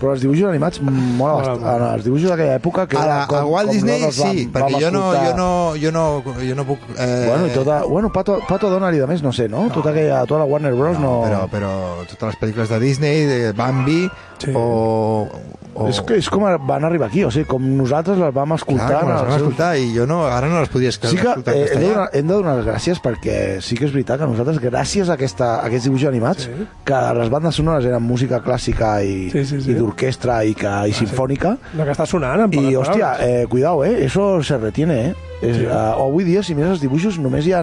[SPEAKER 4] Però els dibuixos animats mola bastant. Ara, Els dibuixos d'aquella època... Que
[SPEAKER 5] A, la-
[SPEAKER 4] era com-
[SPEAKER 5] a Walt
[SPEAKER 4] com
[SPEAKER 5] Disney
[SPEAKER 4] nosaltres vam-
[SPEAKER 5] sí,
[SPEAKER 4] vam
[SPEAKER 5] porque yo no,
[SPEAKER 4] escoltar-
[SPEAKER 5] yo no, yo no, yo no puc, eh,
[SPEAKER 4] Bueno, i tota... Bueno, Pato, Pato Donald i de més, no sé, no? Tota, aquella, tota la Warner Bros. no...
[SPEAKER 5] Pero, pero todas las películas de Disney, de Bambi o, o-
[SPEAKER 4] És, que és com van arribar aquí, o sigui, com nosaltres les vam escoltar...
[SPEAKER 5] Clar, com les
[SPEAKER 4] en
[SPEAKER 5] vam
[SPEAKER 4] els seus-
[SPEAKER 5] escoltar i jo no, ara no les podia escoltar
[SPEAKER 4] Sí que
[SPEAKER 5] escoltar en
[SPEAKER 4] eh, hem, de
[SPEAKER 5] castellà.
[SPEAKER 4] donar, hem de donar les gràcies perquè sí que és veritat que nosaltres, gràcies a, aquesta, a aquests dibuixos animats, sí. que les bandes sonores eren música clàssica i,
[SPEAKER 3] Sí, sí, sí.
[SPEAKER 4] i d'orquestra i, que, i sinfònica,
[SPEAKER 3] La que està sonant, en
[SPEAKER 4] I,
[SPEAKER 3] poques
[SPEAKER 4] hòstia,
[SPEAKER 3] paraules.
[SPEAKER 4] eh, cuidao, eh? Eso se retiene, eh? És, sí. uh, avui dia, si mires els dibuixos, només hi ha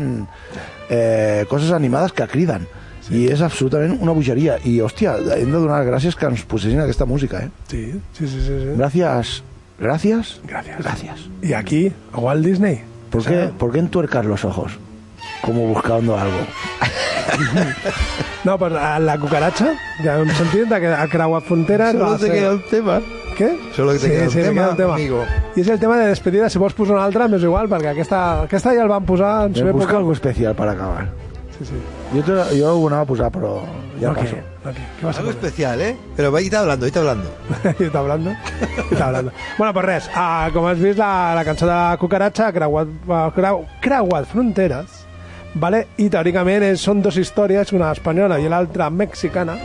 [SPEAKER 4] eh, coses animades que criden. I és absolutament una bogeria. I, hòstia, hem de donar gràcies que ens posessin aquesta música, eh?
[SPEAKER 3] Sí, sí, sí, sí. sí.
[SPEAKER 4] Gracias. Gracias.
[SPEAKER 3] Gracias.
[SPEAKER 4] Gracias.
[SPEAKER 3] Y aquí, a Walt Disney.
[SPEAKER 4] ¿Por qué, ¿Por qué entuercar los ojos? Como buscando algo.
[SPEAKER 3] No, pues a la cucaracha, ja hem sentit, que ha creuat fronteres.
[SPEAKER 5] Solo
[SPEAKER 3] va
[SPEAKER 5] te
[SPEAKER 3] ser-
[SPEAKER 5] queda un tema.
[SPEAKER 3] Què?
[SPEAKER 5] Solo te queda un
[SPEAKER 3] te
[SPEAKER 5] tema, amigo.
[SPEAKER 3] I és el tema de despedida, si vols posar un altre, m'és igual, perquè aquesta, aquesta ja el van posar en su
[SPEAKER 4] Me busca
[SPEAKER 3] època.
[SPEAKER 4] algo especial para acabar.
[SPEAKER 3] Sí, sí.
[SPEAKER 4] Yo, te, yo una voy a posar, pero ya
[SPEAKER 3] Ok,
[SPEAKER 4] pasó.
[SPEAKER 3] ok. Què vas a
[SPEAKER 5] Algo especial, ¿eh? Pero va, está hablando, está hablando.
[SPEAKER 3] (laughs) I està hablando. I està hablando. Bueno, pues res, uh, com has vist, la, la cançó de la cucaracha ha creuat, ha creu, creuat fronteres, vale? i teòricament és, són dues històries, una espanyola i l'altra mexicana,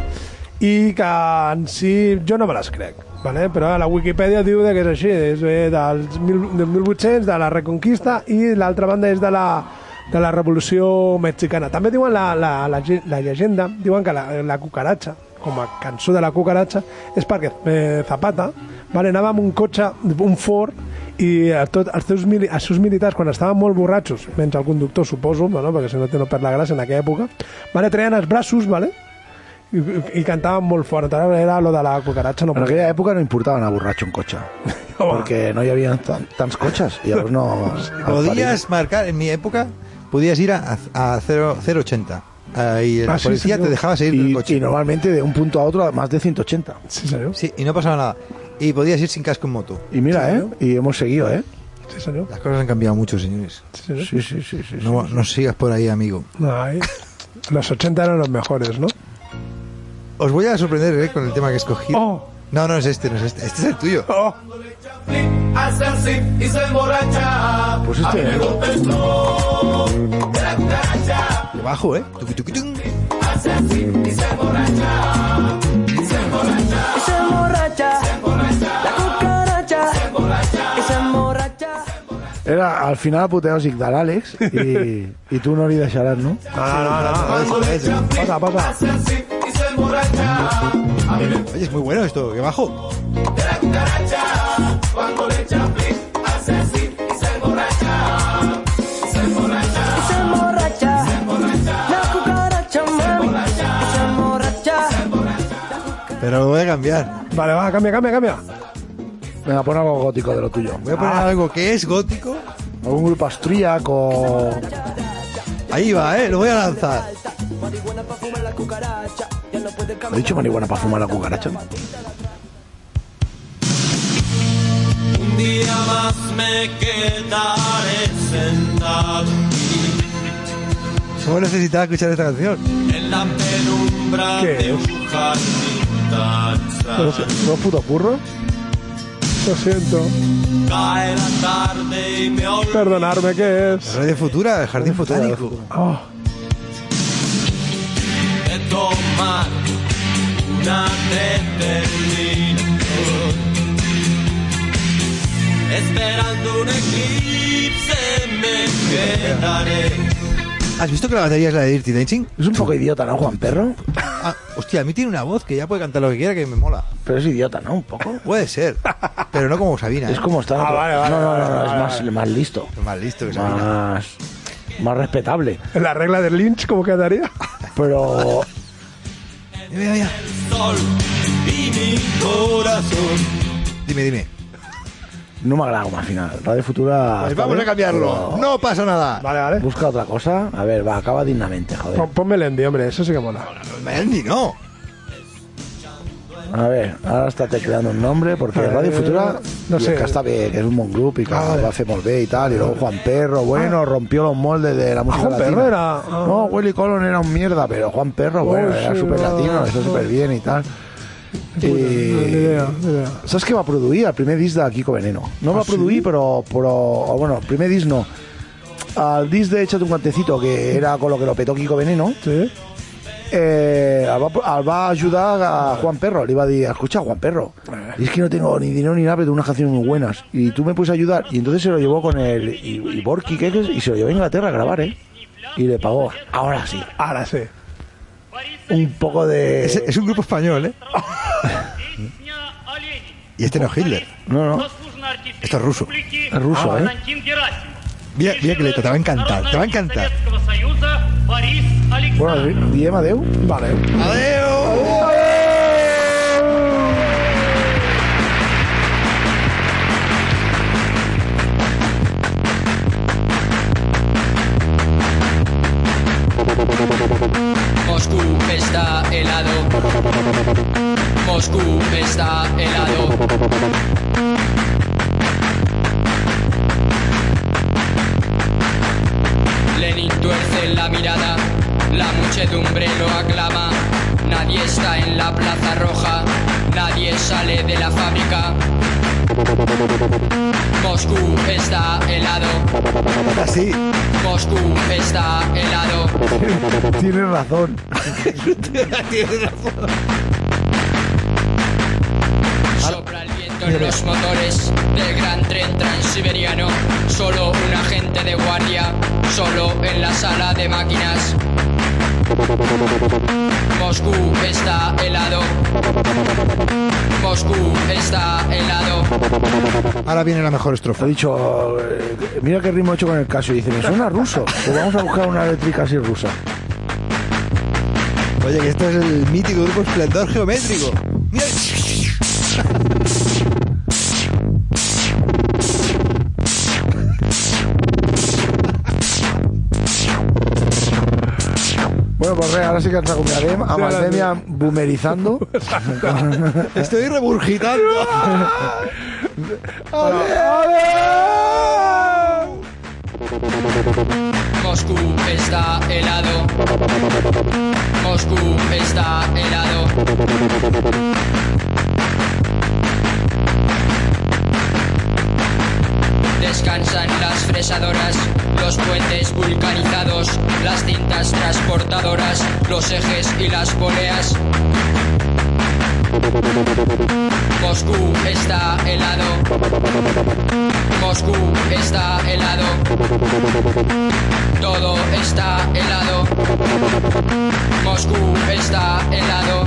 [SPEAKER 3] i que en si jo no me les crec, vale? però la Wikipedia diu de que és així, és eh, dels mil, del 1800, de la Reconquista, i l'altra banda és de la, de la Revolució Mexicana. També diuen la, la, la, ge- la llegenda, diuen que la, la cucaracha, com a cançó de la cucaracha, és perquè eh, Zapata vale, anava amb un cotxe, un Ford, i a tot, els, seus, mili- els seus militars, quan estaven molt borratxos, menys el conductor, suposo, bueno, perquè si no té no perd la gràcia en aquella època, vale, treien els braços, vale, i, i cantaven molt fort. Era lo de la cucaracha. No
[SPEAKER 4] En aquella època no importava anar borratxo en cotxe, perquè no hi havia tan, tants cotxes, i llavors no...
[SPEAKER 5] Podías marcar, en mi época, podías ir a, a 0, 080. Ah, y la
[SPEAKER 4] Ah, sí,
[SPEAKER 5] policía
[SPEAKER 4] señor.
[SPEAKER 5] te dejaba seguir
[SPEAKER 4] Y-
[SPEAKER 5] el coche.
[SPEAKER 4] y normalmente de un punto a otro más de 180.
[SPEAKER 3] Sí, señor.
[SPEAKER 5] Sí, y no pasaba nada. Y podías ir sin casco en moto.
[SPEAKER 4] Y mira, ¿eh? Y hemos seguido, ¿eh?
[SPEAKER 3] Sí, señor.
[SPEAKER 5] Las cosas han cambiado mucho, señores.
[SPEAKER 3] señor.
[SPEAKER 4] Sí, sí, sí. sí,
[SPEAKER 5] No, no sigas por ahí, amigo.
[SPEAKER 3] Ay, los 80 eran los mejores, ¿no?
[SPEAKER 5] Os voy a sorprender ¿eh? con el tema que escogí.
[SPEAKER 3] Oh.
[SPEAKER 5] No, no es este, no es este. Este es el tuyo.
[SPEAKER 1] Hace así y se emborracha.
[SPEAKER 5] Pues este,
[SPEAKER 1] A mí me
[SPEAKER 5] ¿eh?
[SPEAKER 1] gusta el flow de la cucaracha.
[SPEAKER 5] Qué bajo, ¿eh? Tuqui, tuqui, tuqui.
[SPEAKER 1] Hace así y se emborracha. Y se emborracha.
[SPEAKER 10] Y se emborracha, la cucaracha, y se emborracha.
[SPEAKER 4] Era al final apoteòsic de l'Àlex i, i tu no li deixaràs, no?
[SPEAKER 1] Cuando le echa flip,
[SPEAKER 3] Pasa, pasa.
[SPEAKER 1] hace así y se emborracha. A mí me
[SPEAKER 5] Oye, es muy bueno esto. Qué bajo.
[SPEAKER 1] gusta la cucaracha. Cuando le echa flip, hace así y se emborracha. Y se emborracha.
[SPEAKER 10] Y se emborracha, la cucaracha, mami, y se emborracha.
[SPEAKER 5] Pero lo voy a cambiar.
[SPEAKER 3] Vale, va, cambia, cambia, cambia. Ah.
[SPEAKER 4] Vinga, pon algo gótico de lo tuyo.
[SPEAKER 5] Voy a poner algo que es gótico.
[SPEAKER 4] Algun grup austríac o...
[SPEAKER 5] Ahí va, ¿eh? Lo voy a lanzar.
[SPEAKER 4] ¿Ha dicho marihuana para fumar la cucaracha?
[SPEAKER 1] Un día más me quedaré sentado
[SPEAKER 5] ¿Cómo necesitaba escuchar esta canción?
[SPEAKER 1] en la penumbra
[SPEAKER 3] ¿Qué
[SPEAKER 1] de
[SPEAKER 3] es?
[SPEAKER 1] un jardín tan
[SPEAKER 4] ¿No
[SPEAKER 1] sano.
[SPEAKER 4] es puto curro?
[SPEAKER 3] Lo siento.
[SPEAKER 1] Cae la tarde y me olvido
[SPEAKER 3] Perdonarme, ¿qué
[SPEAKER 5] La
[SPEAKER 3] es?
[SPEAKER 5] radio futura, el jardín botánico.
[SPEAKER 3] Oh,
[SPEAKER 1] de tomar una determinación. Esperando un eclipse me quedaré.
[SPEAKER 5] ¿Has visto que la batería es la de Dirty Dancing?
[SPEAKER 4] Es un poco idiota, ¿no, Juan Perro?
[SPEAKER 5] Ah, hostia, a mí tiene una voz que ya puede cantar lo que quiera que me mola.
[SPEAKER 4] Pero es idiota, ¿no? Un poco.
[SPEAKER 5] Puede ser, pero no como (laughs) Sabina. ¿eh?
[SPEAKER 4] Es como está...
[SPEAKER 3] Ah, vale, vale,
[SPEAKER 4] no, no, no,
[SPEAKER 3] vale,
[SPEAKER 4] no,
[SPEAKER 3] vale,
[SPEAKER 4] es más,
[SPEAKER 3] vale.
[SPEAKER 4] más listo.
[SPEAKER 5] Más listo que Sabina.
[SPEAKER 4] Más... Más respetable.
[SPEAKER 3] (laughs) la regla del Lynch, ¿cómo quedaría?
[SPEAKER 4] Pero...
[SPEAKER 5] Mira, mira.
[SPEAKER 1] Sol y mi corazón.
[SPEAKER 5] Dime, dime.
[SPEAKER 4] No me agrada como al final. Radio Futura...
[SPEAKER 5] Pues
[SPEAKER 4] está
[SPEAKER 5] vamos a
[SPEAKER 4] bien,
[SPEAKER 5] cambiarlo.
[SPEAKER 4] pero-
[SPEAKER 5] No pasa nada.
[SPEAKER 3] (laughs) Vale, vale.
[SPEAKER 4] Busca otra cosa. A ver, va, acaba dignamente, joder.
[SPEAKER 3] Pon- Ponme el envío, hombre, eso sí que mola.
[SPEAKER 5] Andy, no.
[SPEAKER 4] A ver, ahora está tecleando un nombre porque
[SPEAKER 3] Eh,
[SPEAKER 4] Radio Futura
[SPEAKER 3] no
[SPEAKER 4] y
[SPEAKER 3] sé.
[SPEAKER 4] que está bien, que es un buen grupo y que
[SPEAKER 3] Ah, vale. Ah.
[SPEAKER 4] lo hace molt bé y tal. Y luego Juan Perro, bueno, rompió los moldes de la música
[SPEAKER 3] Juan
[SPEAKER 4] latina.
[SPEAKER 3] Perro era- ah.
[SPEAKER 4] No, Willy Colon era un mierda, pero Juan Perro, bueno,
[SPEAKER 3] Oh,
[SPEAKER 4] era
[SPEAKER 3] sí,
[SPEAKER 4] súper latino,
[SPEAKER 3] va.
[SPEAKER 4] está súper bien y tal.
[SPEAKER 3] No, ni
[SPEAKER 4] I...
[SPEAKER 3] idea, ni idea.
[SPEAKER 4] Saps què va produir el primer disc de Kiko Veneno? No va
[SPEAKER 3] sí?
[SPEAKER 4] produir, però, però... o Bueno, el primer disc no. El disc de Échate un guantecito, que era con lo que lo petó Kiko Veneno,
[SPEAKER 3] Sí.
[SPEAKER 4] eh, el, va, el va ayudar a Juan Perro. Le iba a decir, escucha, Juan Perro, y es que no tengo ni dinero ni nada, pero tengo unas canciones muy buenas. Y tú me puedes ayudar. Y entonces se lo llevó con el... Y, y Borky, ¿qué es? Y se lo llevó a Inglaterra a grabar, ¿eh? Y le pagó. Ahora sí.
[SPEAKER 3] Ahora sí.
[SPEAKER 4] Un poco de...
[SPEAKER 5] Es, es un grupo español, ¿eh? y este no es Hitler.
[SPEAKER 4] No, no.
[SPEAKER 5] Esto es ruso.
[SPEAKER 4] Es ruso, ¿eh?
[SPEAKER 5] Mira, mira que letra, te va a encantar, te va a encantar.
[SPEAKER 4] Bueno, di- diem adeu. Vale.
[SPEAKER 13] Moscú está helado. Moscú está helado. Lenin tuerce la mirada, la muchedumbre lo aclama. Nadie está en la plaza roja, nadie sale de la fábrica. Moscú está helado.
[SPEAKER 5] Así.
[SPEAKER 13] Moscú está helado.
[SPEAKER 4] Tienes razón.
[SPEAKER 13] Sopra el viento en los motores del gran tren transiberiano. Solo un agente de guardia, solo en la sala de máquinas. Moscú está helado. Moscú está helado.
[SPEAKER 4] Ahora viene la mejor estrofa. He dicho, eh, mira qué ritmo he hecho con el caso. Y dice, me suena ruso. Pues vamos a buscar una eléctrica así rusa.
[SPEAKER 5] Oye, que esto es el mítico grupo esplendor geométrico.
[SPEAKER 4] Bueno, pues re, ahora sí que ens acomiadem amb el Demian (laughs) boomeritzando.
[SPEAKER 5] Estoy regurgitando. (laughs)
[SPEAKER 13] Moscú está helado. Moscú está helado. Descansan las fresadoras, los puentes vulcanizados, las cintas transportadoras, los ejes y las poleas. Moscú está helado. Moscú está helado. Todo está helado. Moscú está helado.